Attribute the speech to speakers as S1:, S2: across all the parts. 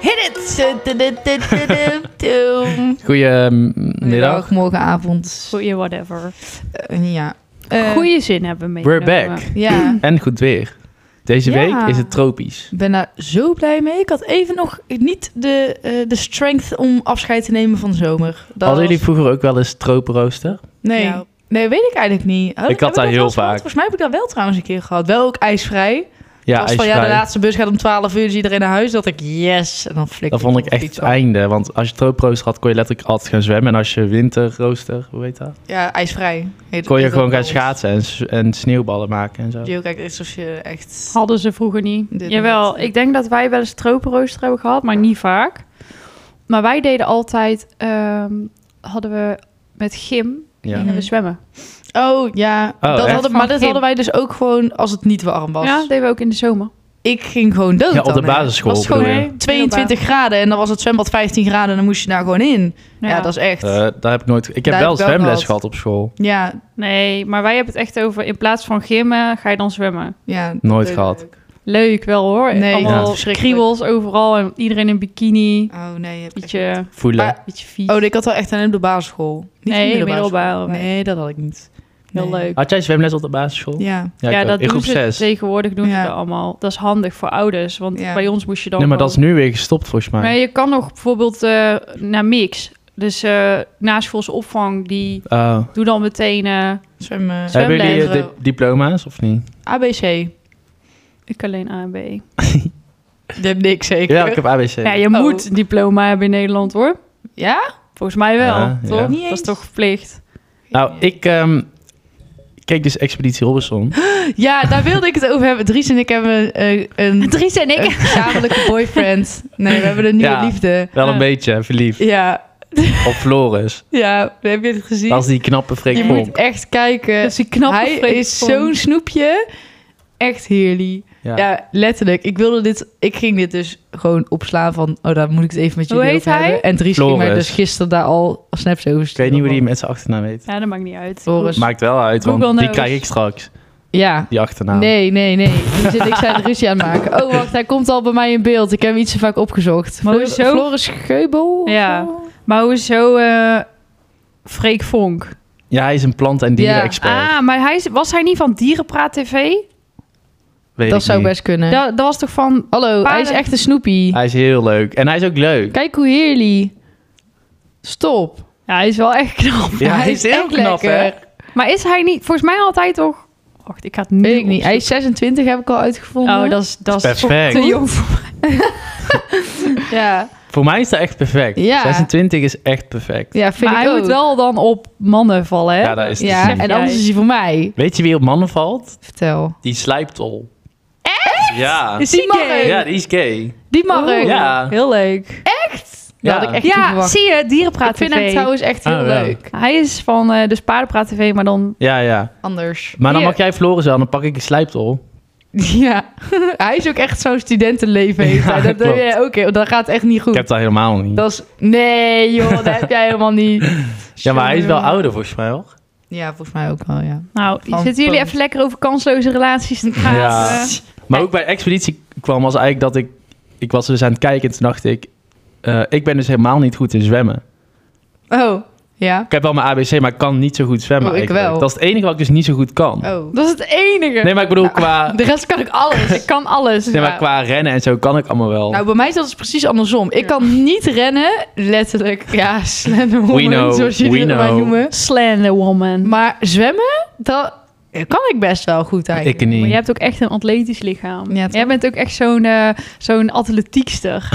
S1: Hit it!
S2: Goedemiddag.
S1: Middag, morgenavond.
S3: Goeie whatever.
S1: Eh, ja. Eh,
S3: Goeie zin hebben we mee.
S2: We're back.
S1: Ja,
S2: En goed weer. Deze
S3: Ja.
S2: week is het tropisch.
S1: ik ben daar zo blij mee. Ik had even nog niet de, eh, de strength om afscheid te nemen van de zomer. Dat
S2: Hadden
S1: was-
S2: jullie vroeger ook wel eens tropenrooster?
S1: Nee.
S3: Ja.
S1: Nee, weet ik eigenlijk niet. Oh,
S2: Ik
S1: heb
S2: had dat
S1: wel
S2: heel
S1: eens gehad?
S2: vaak.
S1: Volgens mij heb ik dat wel trouwens een keer gehad. Wel ook ijsvrij.
S2: Ja,
S1: als van ja, de laatste bus gaat om 12 uur, dus iedereen naar huis. Dat ik yes. En dan flik
S2: Dat vond ik echt het
S1: iets af.
S2: einde. Want als je tropenrooster had, kon je letterlijk altijd gaan zwemmen. En als je winterrooster, hoe heet dat?
S1: Ja, ijsvrij. Heet-
S2: Kon je
S1: heet
S2: gewoon
S1: dat
S2: gaan
S1: bij ons.
S2: schaatsen en, s- en sneeuwballen maken en zo.
S1: Jo, kijk, het is alsof je echt...
S3: Hadden ze vroeger niet.
S1: Dit
S3: Jawel,
S1: niet.
S3: ik denk dat wij wel eens tropenrooster hebben gehad, maar niet vaak. Maar wij deden altijd, ehm, hadden we met
S1: Hmm.
S3: gym,
S2: Ja.
S3: gingen we zwemmen.
S1: Oh, ja.
S2: Oh,
S1: dat
S2: echt?
S1: hadden, maar
S3: Van
S1: dat
S3: Kim.
S1: hadden wij dus ook gewoon als het niet warm was.
S3: Ja, deden we ook in de zomer.
S1: Ik ging gewoon dood
S2: Ja, op
S1: dan,
S2: de
S1: hè.
S2: basisschool
S1: was gewoon
S2: bedoel je?
S3: Nee,
S1: 22 graden en dan was het zwembad 15 graden en dan moest je daar gewoon in. Ja, dat is echt...
S2: Eh, daar heb ik nooit... Ik heb
S1: Daar
S2: wel
S1: heb ik ook
S2: zwemles
S1: gehad.
S2: gehad op school.
S1: ja,
S3: Nee, maar wij hebben het echt over, in plaats van gymmen, ga je dan zwemmen.
S1: ja.
S2: Nooit
S1: leuk.
S2: gehad.
S3: Leuk wel hoor.
S1: Nee,
S2: ja,
S3: Allemaal
S1: verschrikkelijk.
S3: kriebels overal en iedereen in bikini.
S1: Oh, nee. heb ik echt niet.
S3: Beetje,
S2: Voelen.
S1: Maar-
S3: beetje vies.
S1: Oh, ik had wel echt aan de basisschool. Niet
S3: Nee,
S1: van de
S3: middelbare.
S1: school. Nee, dat had ik niet.
S3: Heel
S1: Nee.
S3: leuk.
S2: Had jij zwemles op de basisschool?
S1: Ja.
S2: Ja, ik ook.
S3: dat
S2: in
S3: doen
S2: groep
S3: ze
S2: 6.
S3: tegenwoordig doen ze
S1: Ja.
S3: dat allemaal. Dat is handig voor ouders, want
S1: Ja.
S3: bij ons moest je dan
S2: Nee, maar dat
S3: gewoon-
S2: is nu weer gestopt volgens mij.
S3: Maar je kan nog bijvoorbeeld eh, naar mix. Dus eh naschoolse opvang, die
S2: Oh.
S3: doe dan meteen... eh,
S1: Zwemmen.
S3: Zwem-
S2: Hebben jullie
S1: Zwemles.
S2: eh, di- diploma's of niet?
S1: ABC.
S3: ik alleen A en B.
S1: Dat heb niks zeker.
S2: Ja, ik heb ABC.
S3: Ja, je
S1: Oh.
S3: moet een diploma hebben in Nederland, hoor.
S1: Ja?
S3: Volgens mij wel,
S2: Ja,
S3: toch?
S2: ja.
S1: Niet
S3: Dat
S1: eens.
S3: is toch verplicht?
S2: Nou, ik ehm, keek dus Expeditie Robinson.
S1: Ja, daar wilde ik het over hebben. Dries en ik hebben eh, een,
S3: Dries en
S1: een gezamenlijke boyfriend. Nee, we hebben een nieuwe
S2: Ja.
S1: liefde.
S2: Wel een
S3: Ja.
S2: beetje verliefd
S1: Ja,
S2: op Floris.
S1: ja, heb je het gezien?
S2: Dat is die knappe Freek
S1: je
S2: Vonk.
S1: moet echt kijken.
S3: Dat is die knappe
S1: Hij
S3: Freek
S1: is
S3: Vonk.
S1: zo'n snoepje. Echt heerlijk.
S2: Ja.
S1: Ja. letterlijk. Ik wilde dit, ik ging dit dus gewoon opslaan van, oh, daar moet ik het even met
S3: Hoe
S1: jullie
S3: heet
S1: over
S3: hij?
S1: hebben. En Dries ging mij
S2: Floris.
S1: dus gisteren daar al snaps over
S2: Ik weet niet hoe die met zijn achternaam heet.
S3: Ja, dat maakt niet uit.
S1: Floris.
S2: Maakt wel uit, want
S3: Google
S2: die
S3: knows.
S2: krijg ik straks.
S1: Ja.
S2: Die achternaam.
S1: Nee, nee, nee. Nu zit ik zijn ruzie aan het maken. Oh, wacht, hij komt al bij mij in beeld. Ik heb hem iets te vaak opgezocht.
S3: Maar
S1: Flor-
S3: hoezo?
S1: Floris Geubel? of
S3: Ja.
S1: zo?
S3: Maar hoezo eh Freek Vonk?
S2: Ja, hij is een plant- en dierenexpert.
S3: Ah, maar hij, is- was hij niet van Dierenpraat TV?
S2: Weet
S1: Dat
S2: ik
S1: zou
S2: niet.
S1: best kunnen.
S3: Dat, dat was toch van...
S1: Hallo, hij is
S3: Paarden-
S1: echt een snoepie.
S2: Hij is heel leuk. En hij is ook leuk.
S1: Kijk hoe heerlijk. Stop.
S3: Ja, hij is wel echt knap.
S2: Ja, hij is heel
S1: echt
S2: knap, hè?
S1: lekker.
S3: Maar is hij niet... Volgens mij altijd toch... Wacht, ik ga het nu
S1: Weet ik niet. Hij
S3: opzoeken.
S1: is 26, heb ik al uitgevonden.
S3: Oh, dat is, dat is
S2: Perfect.
S3: te jong voor
S1: ja.
S2: Voor mij is hij echt perfect.
S1: Ja.
S2: 26 is echt perfect.
S1: ja, vind
S3: Maar
S1: ik
S3: hij
S1: ook.
S3: moet wel dan op mannen vallen, hè?
S2: Ja, dat is te
S1: Ja,
S2: zien.
S1: en anders is hij voor mij.
S2: Weet je wie op mannen valt?
S1: Vertel.
S2: Die slijptol. Echt? Ja.
S1: Is die
S3: die gay?
S1: Mark?
S2: Ja, die is gay.
S1: Die Mark.
S3: Oeh,
S2: Ja.
S3: Heel leuk.
S1: Dat had ik echt niet
S3: Ja,
S1: verwacht.
S3: zie je, Dierenpraat
S1: Ik vind
S3: TV.
S1: hem trouwens echt heel
S2: Ah, ja.
S1: leuk.
S3: Hij is van eh dus Paardenpraat TV, maar dan...
S2: ja, ja.
S1: Anders.
S2: Maar dan
S3: Hier.
S2: mag jij Floris aan, dan pak ik een slijptol.
S1: Ja, hij is ook echt zo'n studentenleven. Heeft hij.
S2: Ja,
S1: dat
S2: klopt.
S1: ja, oké, dat gaat echt niet
S2: Ik
S1: goed.
S2: heb dat helemaal niet.
S1: Dat is, nee joh, dat heb jij helemaal niet.
S2: Ja, maar hij is wel ouder volgens mij, hoor.
S1: Ja, volgens mij ook wel, ja.
S3: Nou,
S1: Van
S3: zitten jullie
S1: Punt.
S3: even lekker over kansloze relaties te praten?
S2: Ja. Maar ook bij Expeditie kwam was eigenlijk dat ik... Ik was dus aan het kijken en toen dacht ik... eh, ik ben dus helemaal niet goed in zwemmen.
S1: Oh, ja.
S2: Ik heb wel mijn ABC, maar ik kan niet zo goed zwemmen
S1: Oh, ik
S2: eigenlijk.
S1: wel.
S2: Dat is het enige wat ik dus niet zo goed kan.
S1: Oh.
S3: Dat is het enige.
S2: Nee, maar ik bedoel, qua,
S1: De rest kan ik alles.
S3: Ik kan alles.
S2: nee, maar
S1: ja.
S2: qua rennen en zo kan ik allemaal wel.
S1: Nou, bij mij is dat dus precies andersom. Ik
S3: Ja.
S1: kan niet rennen, letterlijk. Ja, slender woman,
S2: know,
S1: zoals jullie
S2: we
S1: het maar
S2: know.
S1: noemen.
S3: Slender woman.
S1: Maar zwemmen, dat kan ik best wel goed eigenlijk.
S2: ik niet.
S3: Maar jij hebt ook echt een atletisch lichaam.
S1: Ja, toch?
S3: jij bent ook echt zo'n eh, zo'n atletiekster.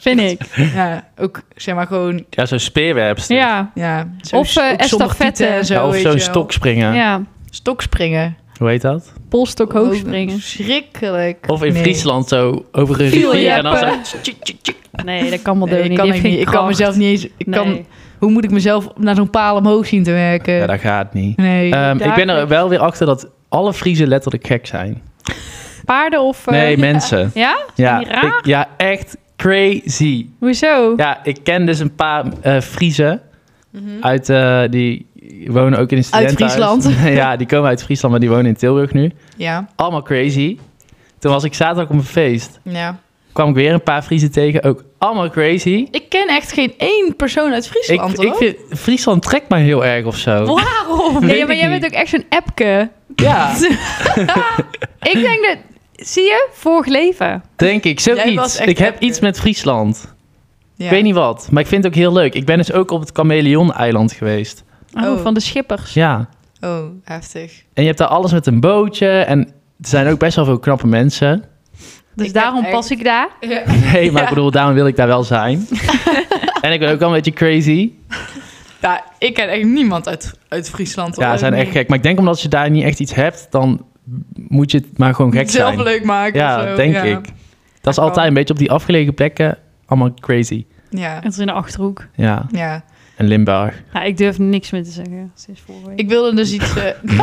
S3: Vind ik.
S1: Ja, ook zeg maar gewoon...
S2: Ja, zo'n speerwerpster.
S3: Ja.
S1: Ja,
S3: Of, eh,
S1: ook zonder
S3: estafette.
S1: tieten en zo,
S2: Ja, of
S1: weet
S2: zo'n
S1: je wel.
S2: stokspringen.
S3: Ja.
S1: Stokspringen.
S2: Hoe heet dat?
S3: Polstok
S1: Oh,
S3: hoog springen.
S1: Schrikkelijk.
S2: Of in Friesland zo over een
S3: Viel
S2: rivier en dan zo...
S3: jeppen. Nee, dat kan wel
S1: Nee,
S3: doen.
S1: ik kan, ik, niet. ik kan mezelf niet eens... Ik kan, hoe moet ik mezelf naar zo'n paal omhoog zien te werken?
S2: Ja, dat gaat niet.
S1: nee.
S2: Ehm, ik ben er
S3: Dagelijks.
S2: wel weer achter dat alle Friesen letterlijk gek zijn.
S3: Paarden of... eh,
S2: Nee, mensen.
S3: Ja?
S2: Ja,
S3: die raar?
S2: ik- ja, echt crazy.
S3: Hoezo?
S2: Ja, ik ken dus een paar eh Friesen
S1: Mhm.
S2: uit, eh, die wonen ook in een studentenhuis.
S1: Friesland.
S2: ja, die komen uit Friesland, maar die wonen in Tilburg nu.
S1: ja,
S2: Allemaal crazy. Toen was ik zaterdag op een feest.
S1: ja.
S2: kwam ik weer een paar Friese tegen. Ook allemaal crazy.
S1: Ik ken echt geen één persoon uit
S2: Ik,
S1: Friesland,
S2: ik
S1: hoor.
S2: vind, Friesland trekt mij heel erg of zo.
S1: Waarom?
S2: Weet
S3: Nee, maar
S2: ik
S3: jij
S2: niet.
S3: bent ook echt zo'n appke.
S2: Ja,
S3: Ik denk dat... Zie je? Vorig leven.
S2: denk ik.
S1: Jij was
S2: Zoiets.
S1: echt
S2: Ik heb
S1: lekker.
S2: iets met Friesland.
S1: Ja.
S2: Ik weet niet wat, maar ik vind het ook heel leuk. Ik ben dus ook op het Chameleon-eiland geweest.
S3: Oh,
S1: Oh.
S3: van de schippers.
S2: Ja.
S1: Oh, heftig.
S2: En je hebt daar alles met een bootje en er zijn ook best wel veel knappe mensen.
S3: Dus
S1: Ik heb
S3: daarom
S1: echt-
S3: pas ik daar.
S2: Nee, maar ik bedoel, daarom wil ik daar wel zijn. en ik ben ook al een beetje crazy.
S1: Ja, ik ken echt niemand uit, uit Friesland.
S2: Ja, ze zijn echt gek. Maar ik denk omdat je daar niet echt iets hebt, dan moet je het maar gewoon gek
S1: Zelf
S2: zijn.
S1: leuk maken
S2: ja,
S1: of zo.
S2: denk
S1: ja.
S2: ik. Dat is
S1: kan.
S2: altijd een beetje op die afgelegen plekken allemaal crazy.
S1: Ja,
S3: Het is in de Achterhoek.
S2: Ja,
S1: ja.
S2: en Limburg.
S3: Nou, ik durf niks meer te zeggen sinds vorige week.
S1: Ik wilde dus iets... eh,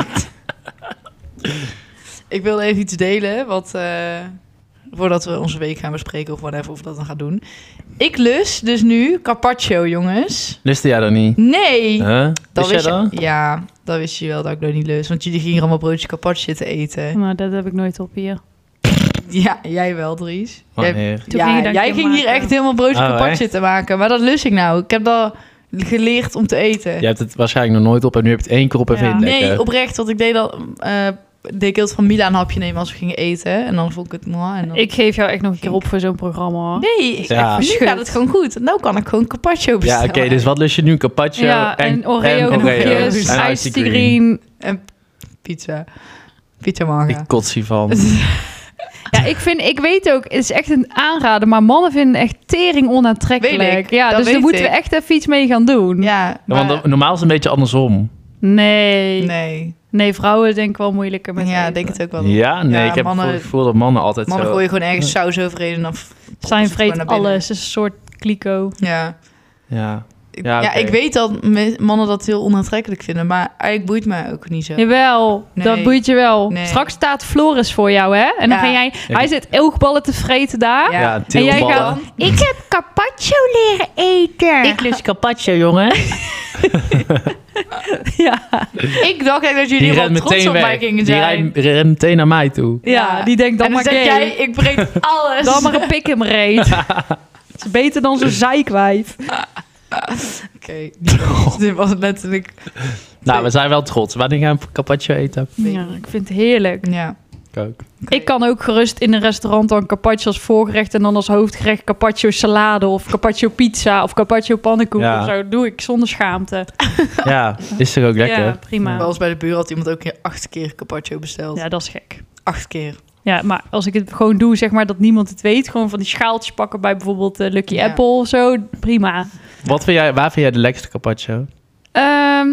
S1: ik wilde even iets delen, wat... eh, voordat we onze week gaan bespreken of whatever, of we dat dan gaan doen. Ik lus dus nu carpaccio, jongens.
S2: Lustte jij dat niet?
S1: Nee!
S2: Huh?
S1: dat
S2: Eh, Wist jij
S1: wist
S2: dat?
S1: je, ja, dat wist je wel dat ik dat niet lust. Want jullie gingen hier allemaal broodje carpaccio zitten
S2: Hm.
S1: eten.
S3: Nou, dat heb ik nooit op hier.
S1: Ja, jij wel, Dries. Jij-
S2: Wanneer?
S3: Toen
S1: ja,
S3: ging je dat
S1: jij
S3: keer
S1: ging hier
S3: maken.
S1: echt helemaal broodje
S2: Oh,
S1: carpaccio te maken. Maar dat lust ik nou. Ik heb dat geleerd om te eten.
S2: Je hebt het waarschijnlijk nog nooit op en nu heb je het één keer op en
S3: Ja.
S2: vind je het lekker.
S1: nee, oprecht. Want ik deed al... eh deed ik heel het van Mila een hapje nemen als we gingen eten. En dan vond ik het mooi. En dan...
S3: Ik geef jou echt nog een keer op voor zo'n programma. hoor.
S1: Nee, ik,
S2: Ja.
S1: nu gaat het gewoon goed. Nou kan ik gewoon carpaccio
S2: Ja,
S1: bestellen.
S2: oké, dus wat lust je nu? Carpaccio
S3: Ja, en, Oreo
S1: en
S3: koekjes,
S1: Oreo's.
S2: En
S3: ice tea
S2: green.
S3: green.
S1: En pizza. Pizza manga.
S2: Ik kots hiervan.
S3: Ja, ik vind, ik weet ook, het is echt een aanrader, maar mannen vinden echt tering onaantrekkelijk.
S1: Weet ik,
S3: ja,
S1: dat
S3: dus daar
S1: weet
S3: moeten
S1: ik.
S3: we echt even iets mee gaan doen.
S1: Ja, maar...
S2: Want dat- normaal is het een beetje andersom.
S3: Nee. nee,
S1: Nee.
S3: vrouwen denk ik wel moeilijker met.
S1: Ja,
S3: eten.
S1: ik denk het ook wel.
S2: Ja, nee,
S1: Ja,
S2: ik heb
S1: mannen-
S2: het gevoel dat mannen altijd
S1: Mannen
S2: zo...
S1: gooien gewoon ergens saus overheen en dan... f-
S3: Zijn
S1: het gewoon
S3: vreet
S1: naar binnen.
S3: alles, is een soort kliko.
S1: Ja.
S2: Ja.
S1: Ik-
S2: Ja,
S1: Ja,
S2: oké.
S1: ik weet dat me- mannen dat heel onaantrekkelijk vinden, maar eigenlijk boeit mij ook niet zo.
S3: Jawel,
S1: Nee.
S3: dat boeit je wel.
S1: Nee.
S3: Straks staat Floris voor jou, hè? En dan
S1: Ja.
S3: ga jij, hij zit elkballen te vreten daar.
S1: Ja.
S2: Ja,
S3: En jij
S2: tilballen.
S3: gaat, ik heb carpaccio leren eten.
S2: Ik lust carpaccio, jongen.
S3: ja.
S1: Ik dacht echt dat jullie
S2: Die
S1: wel
S2: rent
S1: trots
S2: meteen
S1: op
S2: weg.
S1: mij
S2: Die
S1: gingen zijn.
S2: rent rent meteen naar mij toe.
S3: ja, die denkt dan
S1: en dan
S3: maar
S1: zeg
S3: gay.
S1: jij, ik breek alles.
S3: Dan maar een pik in mijn reet. Het is beter dan zo'n zeikwijf.
S1: Oké, dit
S2: Oh.
S1: was- dit was letterlijk...
S2: Nou, we zijn wel trots. Wanneer gaan we carpaccio eten?
S3: Ja, ik vind het heerlijk.
S1: Ja.
S2: Ik ook.
S1: Oké.
S3: Ik kan ook gerust in een restaurant dan carpaccio als voorgerecht... en dan als hoofdgerecht carpaccio salade of carpaccio pizza... of carpaccio pannenkoek
S2: Ja.
S3: of zo. Doe ik zonder schaamte.
S2: Ja, is toch ook lekker?
S3: Ja,
S2: Ja.
S1: Bij
S3: prima.
S1: ons bij de buur had iemand ook hier acht keer carpaccio besteld.
S3: Ja, dat is gek.
S1: Acht keer.
S3: Ja, maar als ik het gewoon doe, zeg maar, dat niemand het weet... gewoon van die schaaltjes pakken bij bijvoorbeeld eh, Lucky
S1: Ja.
S3: Apple of zo, prima.
S2: Wat vind jij, waar vind jij de lekkerste carpaccio?
S3: Ehm,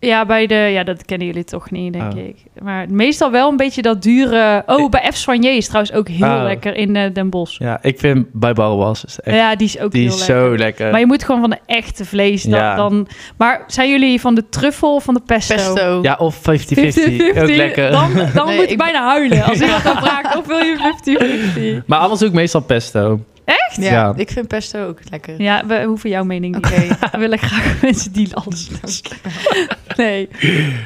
S3: ja, bij de, ja, dat kennen jullie toch niet, denk
S2: Oh.
S3: ik. Maar meestal wel een beetje dat dure... Oh, bij F. Soigné is trouwens ook heel
S2: Oh.
S3: lekker in eh, Den Bosch.
S2: Eh. Ja, ik vind bij Bauwas is echt...
S3: Ja, die is ook
S2: die
S3: heel
S2: is
S3: lekker.
S2: zo lekker.
S3: Maar je moet gewoon van de echte vlees dan,
S2: Ja.
S3: dan... Maar zijn jullie van de truffel of van de pesto?
S1: Pesto.
S2: Ja, of 50-50.
S3: 50-50.
S2: Ook lekker.
S3: Dan, dan
S1: Nee,
S3: moet
S1: ik-
S3: je bijna huilen als iemand dan vraagt of wil je 50-50.
S2: Maar anders doe ik meestal pesto.
S1: Ja,
S2: Ja.
S1: ik vind pesto ook lekker.
S3: Ja, we hoeven jouw mening niet.
S1: Oké.
S3: We willen graag mensen die alles Nee.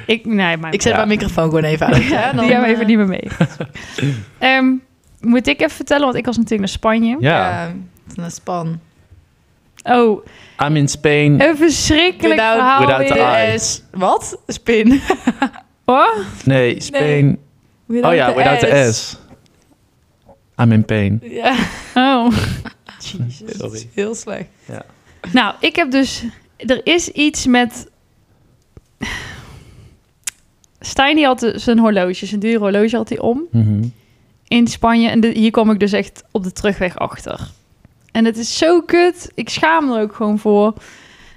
S3: Ik, nee, maar...
S1: Ik zet
S2: Ja.
S1: mijn microfoon gewoon even uit. hè, dan,
S3: die gaan we even
S1: eh,
S3: niet meer mee. Ehm, moet ik even vertellen, want ik was natuurlijk naar Spanje.
S2: Ja.
S1: Ja, naar Span.
S3: Oh,
S2: I'm in Spain.
S3: een verschrikkelijk
S1: Hm. Without-
S3: verhaal
S2: without the
S3: weer.
S2: eye.
S1: De S. Wat? Spin.
S3: Hoor?
S2: Nee, Spain. Oh ja, without the S. I'm in pain.
S1: Ja.
S3: Oh.
S1: Jezus,
S2: Sorry.
S1: het is heel slecht.
S3: Nou, ik heb dus... Er is iets met... Stijn die had zijn horloge, zijn duur horloge had hij om
S2: Mhm.
S3: in Spanje. En de- hier kwam ik dus echt op de terugweg achter. En het is zo kut. Ik schaam er ook gewoon voor.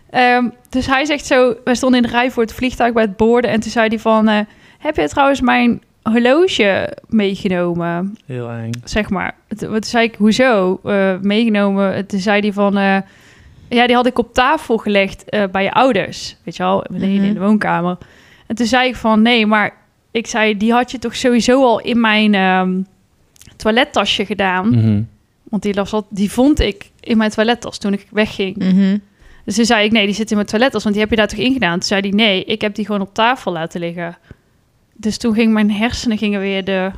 S3: Ehm, dus hij zegt zo... Wij stonden in de rij voor het vliegtuig bij het boorden. En toen zei hij van... eh, heb je trouwens mijn horloge meegenomen?
S2: Heel eng.
S3: zeg maar. Het- Wat toen zei ik, hoezo? eh, meegenomen. Toen zei die van... eh, ja, die had ik op tafel gelegd eh, bij je ouders. Weet je wel, beneden
S1: Mhm.
S3: in de woonkamer. En toen zei ik van, nee, maar... Ik zei, die had je toch sowieso al in mijn ehm, toilettasje gedaan?
S2: Mhm.
S3: Want die, las al, die vond ik in mijn toilettas toen ik wegging.
S1: Mhm.
S3: Dus toen zei ik, nee, die zit in mijn toilettas, want die heb je daar toch in gedaan? Toen zei hij, nee, ik heb die gewoon op tafel laten liggen.
S1: Mhm.
S3: Dus toen ging mijn hersenen gingen weer de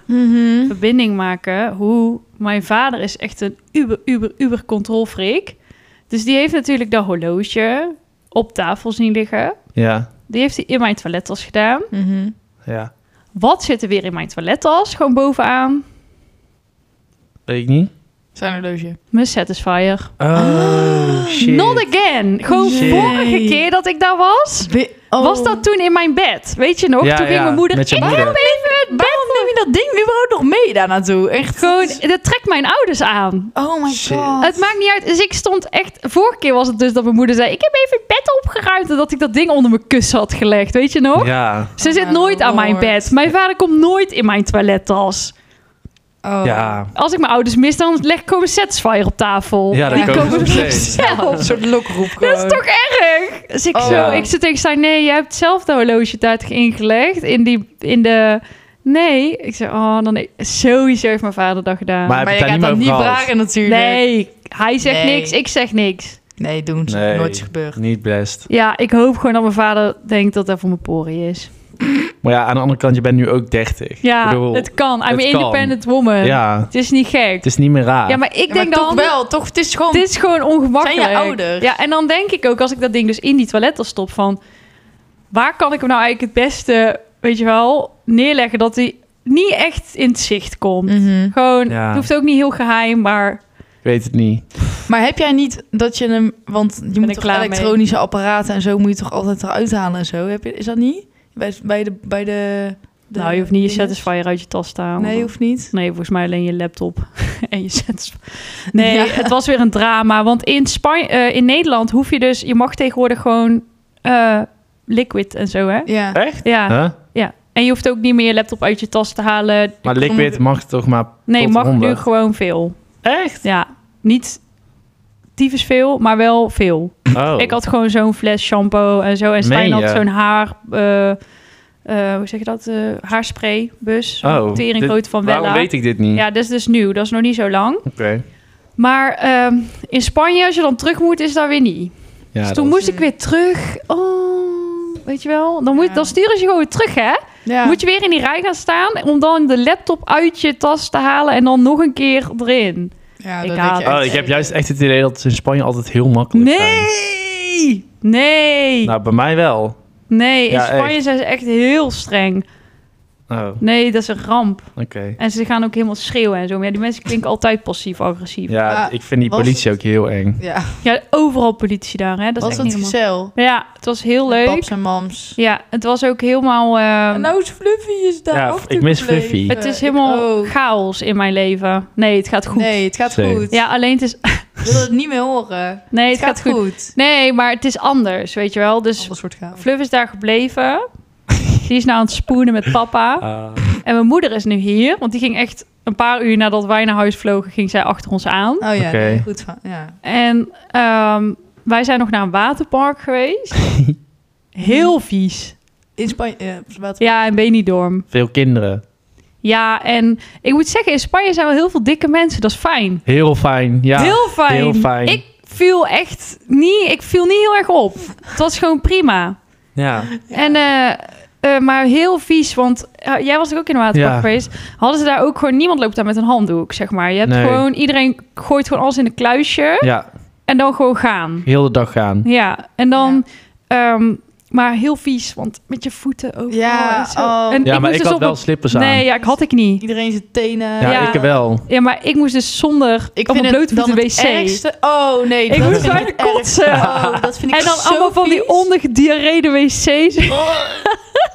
S3: verbinding maken. Hoe mijn vader is echt een uber, uber, uber controlfreak. Dus die heeft natuurlijk dat horloge op tafel zien liggen.
S2: Ja,
S3: Die heeft hij in mijn toilettas gedaan.
S1: Mhm.
S2: ja.
S3: Wat zit er weer in mijn toilettas? Gewoon bovenaan.
S2: Weet ik niet.
S1: Zijn horloge.
S3: Mijn Satisfyer.
S2: Oh, shit.
S3: Ah, Not again. Gewoon
S2: Shit.
S3: vorige keer dat ik daar was.
S1: oh.
S3: Was dat toen in mijn bed? Weet je nog?
S2: Ja,
S3: toen ging
S2: ja,
S3: mijn moeder...
S2: met je
S3: ik
S2: moeder."
S3: heb even het bed.
S1: Waarom neem je dat ding überhaupt nog mee daar naartoe? Echt
S3: Gewoon, dat trekt mijn ouders aan.
S1: Oh my
S2: Shit.
S1: god.
S3: Het maakt niet uit. Dus ik stond echt... Vorige keer was het dus dat mijn moeder zei... Ik heb even het bed opgeruimd. En dat ik dat ding onder mijn kussen had gelegd. Weet je nog?
S2: Ja,
S3: Ze
S1: Oh
S3: zit
S1: my
S3: nooit aan mijn
S1: lord.
S3: bed. Mijn vader komt nooit in mijn toilettas.
S1: Oh.
S2: ja.
S3: Als ik mijn ouders mis, dan leg ik gewoon een Satisfyer op tafel.
S2: Ja, dat
S1: Die
S2: komen ze
S1: komen
S2: nog
S1: er
S2: steeds.
S1: zelf. Een soort lokroep
S3: Dat
S1: gewoon.
S3: is toch erg? Dus ik,
S1: Oh.
S3: zo,
S2: Ja.
S3: ik zit tegen zijn nee, jij hebt zelf dat horloge tijdig ingelegd in, die, in de... Nee. Ik zei, oh, dan sowieso heeft mijn vader dat gedaan.
S2: Maar- Heb
S1: Maar
S2: ik
S1: je
S2: daar
S1: gaat
S2: niet
S1: dat
S2: meer
S1: niet
S2: over gehad?
S1: vragen natuurlijk.
S3: nee, hij zegt
S1: Nee.
S3: niks, ik zeg niks.
S1: Nee, doen ze.
S2: Nee.
S1: Nooit gebeurd.
S2: Niet best.
S3: Ja, ik hoop gewoon dat mijn vader denkt dat dat voor mijn pori is.
S2: Maar ja, aan de andere kant, je bent nu ook 30.
S3: Ja,
S2: Ik bedoel,
S3: het kan. I'm
S2: het
S3: an
S2: kan.
S3: independent woman.
S2: ja,
S3: Het is niet gek.
S2: het is niet meer raar.
S3: ja, maar ik
S1: Ja, maar
S3: denk dan...
S1: toch wel. Toch, het is gewoon...
S3: Het is gewoon ongemakkelijk.
S1: Zijn je ouders?
S3: Ja, en dan denk ik ook als ik dat ding dus in die toilet al stop van... Waar kan ik hem nou eigenlijk het beste, weet je wel, neerleggen dat hij niet echt in het zicht komt?
S1: Mhm.
S3: Gewoon,
S2: Ja.
S3: het hoeft ook niet heel geheim, maar
S2: Ik weet het niet.
S1: Maar heb jij niet dat je hem... Want je moet
S3: ik
S1: toch
S3: klaar mee.
S1: elektronische apparaten en zo... moet je toch altijd eruit halen en zo. Heb je, is dat niet? Bij, bij de, bij de, de...
S3: nou, je hoeft niet je
S1: dinges?
S3: Satisfyer uit je tas te halen.
S1: Nee, hoeft niet.
S3: Nee, volgens mij alleen je laptop en je Satisfyer. Nee,
S1: Ja.
S3: het was weer een drama, want in, Spanje, eh, in Nederland hoef je dus... Je mag tegenwoordig gewoon eh, liquid en zo, hè?
S1: Ja.
S2: Echt?
S3: Ja.
S2: Huh?
S3: Ja, en je hoeft ook niet meer je laptop uit je tas te halen.
S2: Maar liquid mag toch maar...
S3: Nee,
S2: tot
S3: mag
S2: 100.
S3: nu gewoon veel.
S2: Echt?
S3: Ja, niet tyfus veel, maar wel veel.
S2: Oh.
S3: Ik had gewoon zo'n fles shampoo en zo. En Stijn
S2: Meen
S3: had
S2: je?
S3: zo'n haar... eh, eh, hoe zeg je dat? eh haarspraybus.
S2: Oh,
S3: Oh, teringkloot
S2: dit-
S3: van
S2: Waarom
S3: Wella.
S2: weet ik dit niet?
S3: Ja, dat is dus nieuw. Dat is nog niet zo lang.
S2: Oké.
S3: Maar ehm, in Spanje, als je dan terug moet, is dat weer niet.
S2: Ja,
S3: dus
S2: dat
S3: toen
S2: is- eh,
S3: moest ik weer terug. Oh, weet je wel? Dan, moet,
S1: Ja.
S3: dan sturen ze je gewoon weer terug, hè?
S1: Ja.
S3: Moet je weer in die rij gaan staan om dan de laptop uit je tas te halen en dan nog een keer erin.
S1: ja,
S3: Ik
S1: dat
S3: haat
S1: denk je
S3: het.
S2: Oh, ik heb juist echt het idee dat ze in Spanje altijd heel makkelijk zijn.
S3: Nee! Nee!
S2: Nou, bij mij wel.
S3: nee, in
S2: Ja,
S3: Spanje
S2: echt.
S3: zijn ze echt heel streng.
S2: Oh, oké.
S3: Nee, dat is een ramp. En ze gaan ook helemaal schreeuwen en zo. Maar ja, die mensen klinken altijd passief-agressief. Ja.
S2: Ja,
S1: Ah,
S2: ik vind die
S1: was-
S2: politie ook heel eng.
S1: Ja,
S3: overal politie daar, hè? Dat is
S1: was
S3: echt
S1: dat
S3: niet normaal.
S1: gezel?
S3: Ja, het was heel leuk.
S1: Paps en mams.
S3: Ja, het was ook helemaal... ehm,
S1: En nou is Fluffy is daar
S2: Ja,
S1: ook
S2: ik mis
S1: gebleven.
S2: Fluffy.
S3: het is
S1: Eh, Ik
S3: helemaal
S1: ook.
S3: chaos in mijn leven. Nee, het gaat goed.
S1: Oh, Nee, het gaat
S2: Zeker.
S1: goed.
S3: Ja, alleen het is...
S1: Ik wil het niet meer horen.
S3: Nee,
S1: het, gaat, goed. goed.
S3: Nee, maar het is anders, weet je wel. Dus
S1: Alles wordt chaos.
S3: Fluff is daar gebleven. Die is nou aan het spoenen met papa.
S2: Ah,
S3: En mijn moeder is nu hier. Want die ging echt een paar uur nadat wij naar huis vlogen, ging zij achter ons aan.
S1: Oh ja,
S2: Oké.
S1: nee, goed van. Ja.
S3: En ehm, wij zijn nog naar een waterpark geweest. Heel vies.
S1: In Spanje. eh, op Zwarte-
S3: Ja, in Benidorm.
S2: veel kinderen.
S3: Ja, en ik moet zeggen, in Spanje zijn wel heel veel dikke mensen. Dat is fijn.
S2: Heel fijn. Ja,
S3: heel fijn.
S2: heel fijn.
S3: Ik viel echt niet, ik viel niet heel erg op. Het was gewoon prima.
S2: ja.
S3: En, eh, eh, maar heel vies, want eh, jij was er ook in de waterpark
S2: Ja.
S3: geweest. Hadden ze daar ook gewoon, niemand loopt daar met een handdoek, zeg maar. Je hebt
S2: Nee.
S3: gewoon, iedereen gooit gewoon alles in een kluisje
S2: ja,
S3: en dan gewoon gaan.
S2: heel de dag gaan.
S3: Ja, en dan, ehm, maar heel vies, want met je voeten ook.
S1: Ja,
S3: en zo.
S1: oh.
S3: En
S2: Ja, maar
S3: moest
S2: ik
S3: dus
S2: had
S3: op
S2: wel
S3: een-
S2: slippers aan.
S3: Nee, ja, ik had ik niet.
S1: Iedereen zijn tenen.
S2: ja,
S3: ja.
S2: ik wel.
S3: Ja, maar ik moest dus zonder
S1: Ik
S3: op
S1: vind
S3: een blote
S1: het
S3: voet de
S1: dan
S3: wc.
S1: het ergste. Oh nee,
S3: Ik
S1: dat
S3: moest
S1: vind
S3: bijna
S1: het ergst.
S3: kotsen.
S1: Oh, dat vind ik
S3: en dan
S1: zo
S3: allemaal van die
S1: vies. Oh,
S3: ondergediarreede wc's.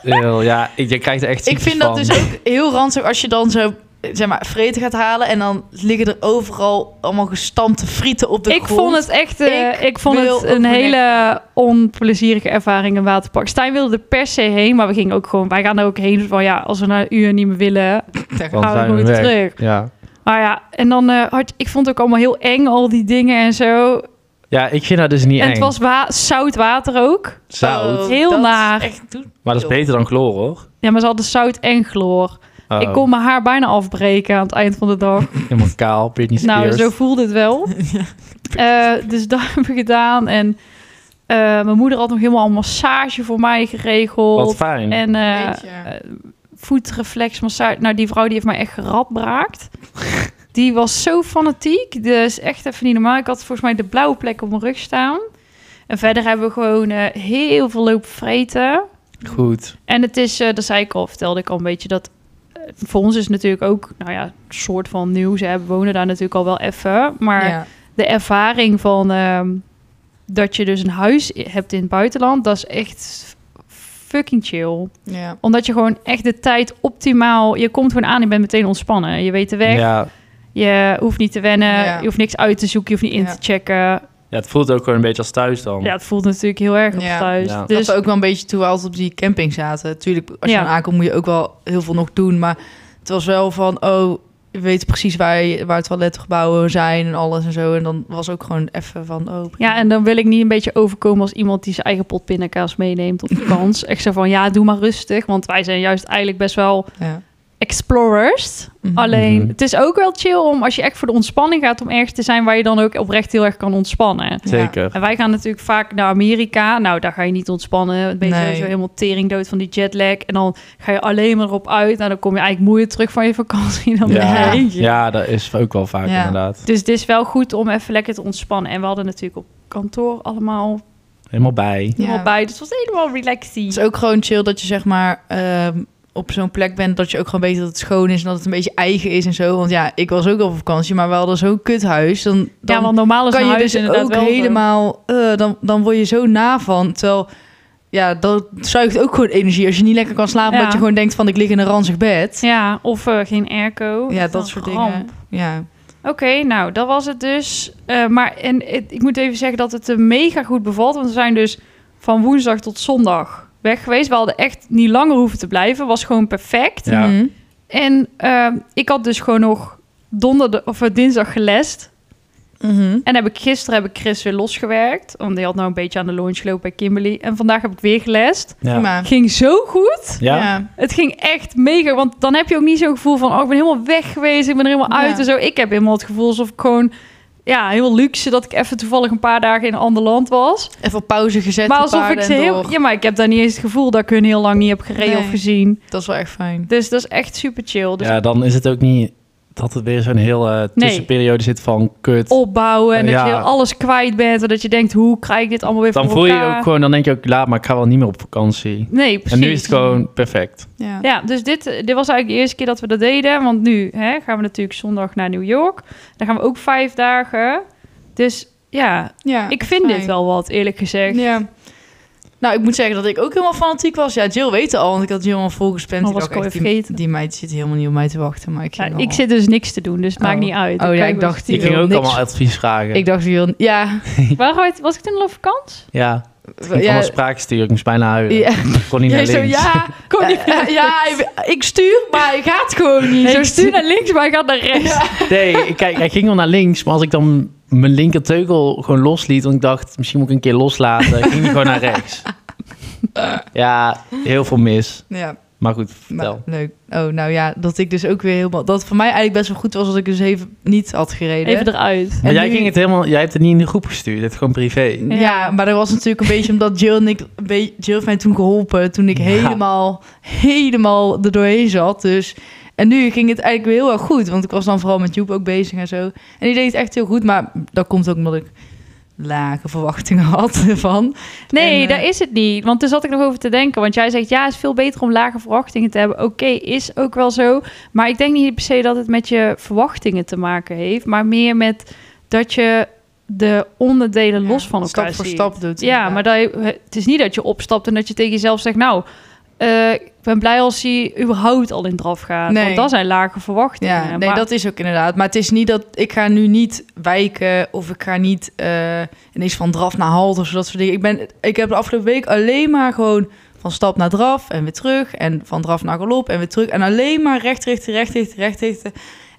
S2: Heel, ja, ik, je krijgt er echt
S1: Ik
S2: ziektes
S1: vind dat
S2: van.
S1: dus ook heel ranzig als je dan zo eh, zeg maar vreten gaat halen en dan liggen er overal allemaal gestampte frieten op de
S3: ik
S1: grond.
S3: vond het echt eh,
S1: Ik
S3: ik vond
S1: wil
S3: het een
S1: overnemen.
S3: hele onplezierige ervaring in waterpark. Stijn wilde er per se heen, maar we gingen ook gewoon. Wij gaan er ook heen. Dus Van ja, als we na een uur niet meer willen,
S2: Dan
S3: gaan we
S2: zijn we
S3: gewoon
S2: weg.
S3: terug.
S2: Ja.
S3: Maar ja, en dan eh, had ik vond het ook allemaal heel eng al die dingen en zo.
S2: ja, ik vind dat dus niet
S3: en
S2: eng.
S3: het was wa- zout water ook.
S2: Zout.
S1: Oh,
S3: Heel
S1: dat is
S3: naar.
S1: Echt, doe-
S2: Maar dat is beter dan chloor, hoor.
S3: Ja, maar ze hadden zout en chloor.
S2: Oh,
S3: Ik kon mijn haar bijna afbreken aan het eind van de dag.
S2: Helemaal kaal, Britney
S3: Nou,
S2: Spears.
S3: zo voelde het wel. Eh, dus dat hebben we gedaan. En eh, mijn moeder had nog helemaal een massage voor mij geregeld.
S2: Wat fijn.
S3: En eh,
S1: Weet je.
S3: eh, voetreflexmassage. Nou, die vrouw die heeft mij echt geradbraakt. Die was zo fanatiek. Dus echt even niet normaal. Ik had volgens mij de blauwe plek op mijn rug staan. En verder hebben we gewoon eh, heel veel lopen vreten.
S2: Goed.
S3: En het is, eh dat zei ik al, vertelde ik al een beetje, dat eh, voor ons is het natuurlijk ook, nou ja, een soort van nieuw. Ze hebben, wonen daar natuurlijk al wel even. Maar
S1: ja.
S3: de ervaring van ehm, dat je dus een huis i- hebt in het buitenland, dat is echt fucking chill.
S1: Ja.
S3: Omdat je gewoon echt de tijd optimaal, je komt gewoon aan en bent meteen ontspannen. Je weet de weg,
S2: Ja.
S3: je hoeft niet te wennen,
S1: Ja.
S3: je hoeft niks uit te zoeken, je hoeft niet in
S1: Ja.
S3: te checken.
S2: ja, het voelt ook gewoon een beetje als thuis dan.
S3: Ja, het voelt natuurlijk heel erg op
S1: Ja.
S3: thuis.
S2: Ja.
S1: Dus...
S3: Dus,
S1: Dat we ook wel een beetje toen we altijd op die camping zaten. Tuurlijk, als je
S3: Ja.
S1: dan aankomt moet je ook wel heel veel nog doen. Maar het was wel van, oh, je weet precies waar, je, waar toiletgebouwen zijn en alles en zo. En dan was ook gewoon even van, oh... prima.
S3: ja, en dan wil ik niet een beetje overkomen als iemand die zijn eigen pot pindakaas meeneemt op de kans. Echt zo van, ja, doe maar rustig, want wij zijn juist eigenlijk best wel
S1: Ja.
S3: explorers.
S1: Mhm.
S3: Alleen,
S2: Mhm.
S3: het is ook wel chill om als je echt voor de ontspanning gaat, om ergens te zijn waar je dan ook oprecht heel erg kan
S1: Mhm.
S3: ontspannen.
S2: Zeker.
S3: En wij gaan natuurlijk vaak naar Amerika. Nou, daar ga je niet ontspannen. Ben je
S1: Nee.
S3: sowieso helemaal teringdood van die jetlag. En dan ga je alleen maar op uit. Nou, dan kom je eigenlijk moeier terug van je vakantie dan
S2: Ja.
S3: ja.
S2: Ja, dat is ook wel vaak
S1: Ja.
S2: inderdaad.
S3: Dus het is wel goed om even lekker te ontspannen. En we hadden natuurlijk op kantoor allemaal
S2: Helemaal bij.
S1: Ja.
S3: helemaal bij. Dus het was helemaal
S1: Het
S3: relaxing.
S1: is ook gewoon chill dat je zeg maar ehm, op zo'n plek bent dat je ook gewoon weet dat het schoon is en dat het een beetje eigen is en zo. Want ja, ik was ook al op vakantie, maar we hadden zo'n kuthuis. Dan, dan
S3: ja, want normaal is
S1: kan
S3: een
S1: je
S3: huis
S1: dus
S3: inderdaad
S1: ook
S3: wel zo.
S1: helemaal, eh, dan, dan word je zo na van. Terwijl, ja, dat zuigt ook gewoon energie als je niet lekker kan slapen,
S3: Ja.
S1: dat je gewoon denkt van ik lig in een ranzig bed.
S3: Ja, of eh, geen airco.
S1: Ja,
S3: Echt
S1: dat
S3: een
S1: soort
S3: ramp.
S1: dingen. Ja,
S3: Oké, nou, dat was het dus. Eh, maar en, het- ik moet even zeggen dat het eh, mega goed bevalt. Want we zijn dus van woensdag tot zondag weg geweest. We hadden echt niet langer hoeven te blijven. Was gewoon perfect.
S2: Ja.
S1: Mhm.
S3: En eh, ik had dus gewoon nog donderdag of eh, dinsdag gelest.
S1: Mhm.
S3: En heb ik, gisteren heb ik Chris weer losgewerkt. Want die had nou een beetje aan de launch gelopen bij Kimberly. En vandaag heb ik weer gelest.
S2: Ja.
S1: Prima.
S3: Ging zo goed.
S2: Ja?
S3: Het ging echt mega. Want dan heb je ook niet zo'n gevoel van... oh, ik ben helemaal weg geweest. Ik ben er helemaal
S1: Ja.
S3: uit en zo. Ik heb helemaal het gevoel alsof ik gewoon... ja, heel luxe dat ik even toevallig een paar dagen in een ander land was.
S1: Even op pauze gezet.
S3: maar
S1: de
S3: alsof ik
S1: paarden
S3: ze
S1: en
S3: heel...
S1: door.
S3: Ja, maar ik heb daar niet eens het gevoel dat ik hun heel lang niet heb gereden
S1: Nee.
S3: of gezien.
S1: Dat is wel echt fijn.
S3: Dus dat is echt super chill. Dus
S2: Ja, dan is het ook niet dat het weer zo'n heel eh, tussenperiode zit van kut.
S3: opbouwen en dat
S2: Ja.
S3: je heel alles kwijt bent... en dat je denkt, hoe krijg ik dit allemaal weer
S2: Dan
S3: voor
S2: voel je
S3: elkaar?
S2: ook gewoon, dan denk je ook, laat maar, ik ga wel niet meer op vakantie.
S3: Nee, precies.
S2: En nu is het gewoon perfect.
S1: Ja.
S3: Ja, dus dit, dit was eigenlijk de eerste keer dat we dat deden. Want nu hè, gaan we natuurlijk zondag naar New York. Dan gaan we ook vijf dagen. Dus ja,
S1: Ja,
S3: ik vind
S1: fijn.
S3: dit wel wat, eerlijk gezegd.
S1: Ja. Nou, ik moet zeggen dat ik ook helemaal fanatiek was. Ja, Jill weet het al, want ik had Jill al volgespend.
S3: Oh,
S1: Ik
S3: was
S1: dacht
S3: ik al
S1: echt,
S3: weer
S1: Die,
S3: vergeten.
S1: die meid zit helemaal niet op mij te wachten, maar ik
S3: Ja,
S1: ging
S3: ik
S1: al-
S3: zit dus niks te doen, dus het
S1: Oh.
S3: maakt niet uit.
S1: Oh,
S3: Dan
S1: ja,
S3: kan je
S1: ik
S3: wel-
S1: dacht die
S2: Ik ging
S1: wil
S2: ook
S1: niks-
S2: allemaal advies vragen.
S1: Ik dacht, die wil... Ja.
S3: Waar had- was ik toen al op vakantie?
S2: ja, ik ging
S1: ja,
S2: allemaal spraakjes sturen. Ik moest bijna huilen.
S1: ja.
S2: Ik kon niet
S1: Jij
S2: naar
S1: zo,
S2: links.
S1: ja,
S3: Kom niet
S1: eh, eh, ja, ik- ik stuur, maar ik ga het gewoon niet.
S3: Nee,
S1: Zo
S3: ik stuur naar links, maar ik gaat naar rechts.
S2: Nee, ik- kijk, hij ging wel naar links. Maar als ik dan mijn linker teugel gewoon losliet... want ik dacht, misschien moet ik een keer loslaten... ging hij gewoon naar rechts. Ja, heel veel mis.
S1: Ja,
S2: Maar goed,
S1: maar
S2: vertel.
S1: leuk. Oh, nou ja, dat ik dus ook weer helemaal... Dat voor mij eigenlijk best wel goed was dat ik dus even niet had gereden.
S3: Even eruit.
S2: Maar
S1: En
S2: jij,
S1: nu-
S2: ging het helemaal, jij hebt het niet in de groep gestuurd. Het is gewoon privé.
S1: Ja,
S3: Ja.
S1: maar dat was natuurlijk een beetje omdat Jill en ik... een beetje- Jill heeft mij toen geholpen toen ik
S2: Ja.
S1: helemaal, helemaal er doorheen zat. Dus, en nu ging het eigenlijk weer heel erg goed. Want ik was dan vooral met Joep ook bezig en zo. En die deed het echt heel goed. Maar dat komt ook omdat ik lage verwachtingen had ervan.
S3: Nee,
S1: En, eh,
S3: daar is het niet. Want toen zat ik nog over te denken. Want jij zegt, ja, het is veel beter om lage verwachtingen te hebben. Oké, is ook wel zo. Maar ik denk niet per se dat het met je verwachtingen te maken heeft. Maar meer met dat je de onderdelen los van elkaar
S1: Stap voor
S3: ziet.
S1: stap doet.
S3: Ja, maar dat, je- het is niet dat je opstapt en dat je tegen jezelf zegt... nou, eh, ik ben blij als hij überhaupt al in draf gaat.
S1: Nee.
S3: Want dat zijn lage verwachtingen.
S1: Ja, nee,
S3: Eh, Maar-
S1: dat is ook inderdaad. Maar het is niet dat ik ga nu niet wijken of ik ga niet eh ineens van draf naar halt of zo, dat soort dingen. Ik, ben, ik heb de afgelopen week alleen maar gewoon van stap naar draf en weer terug en van draf naar galop en weer terug. En alleen maar recht richten, recht richten, recht richten.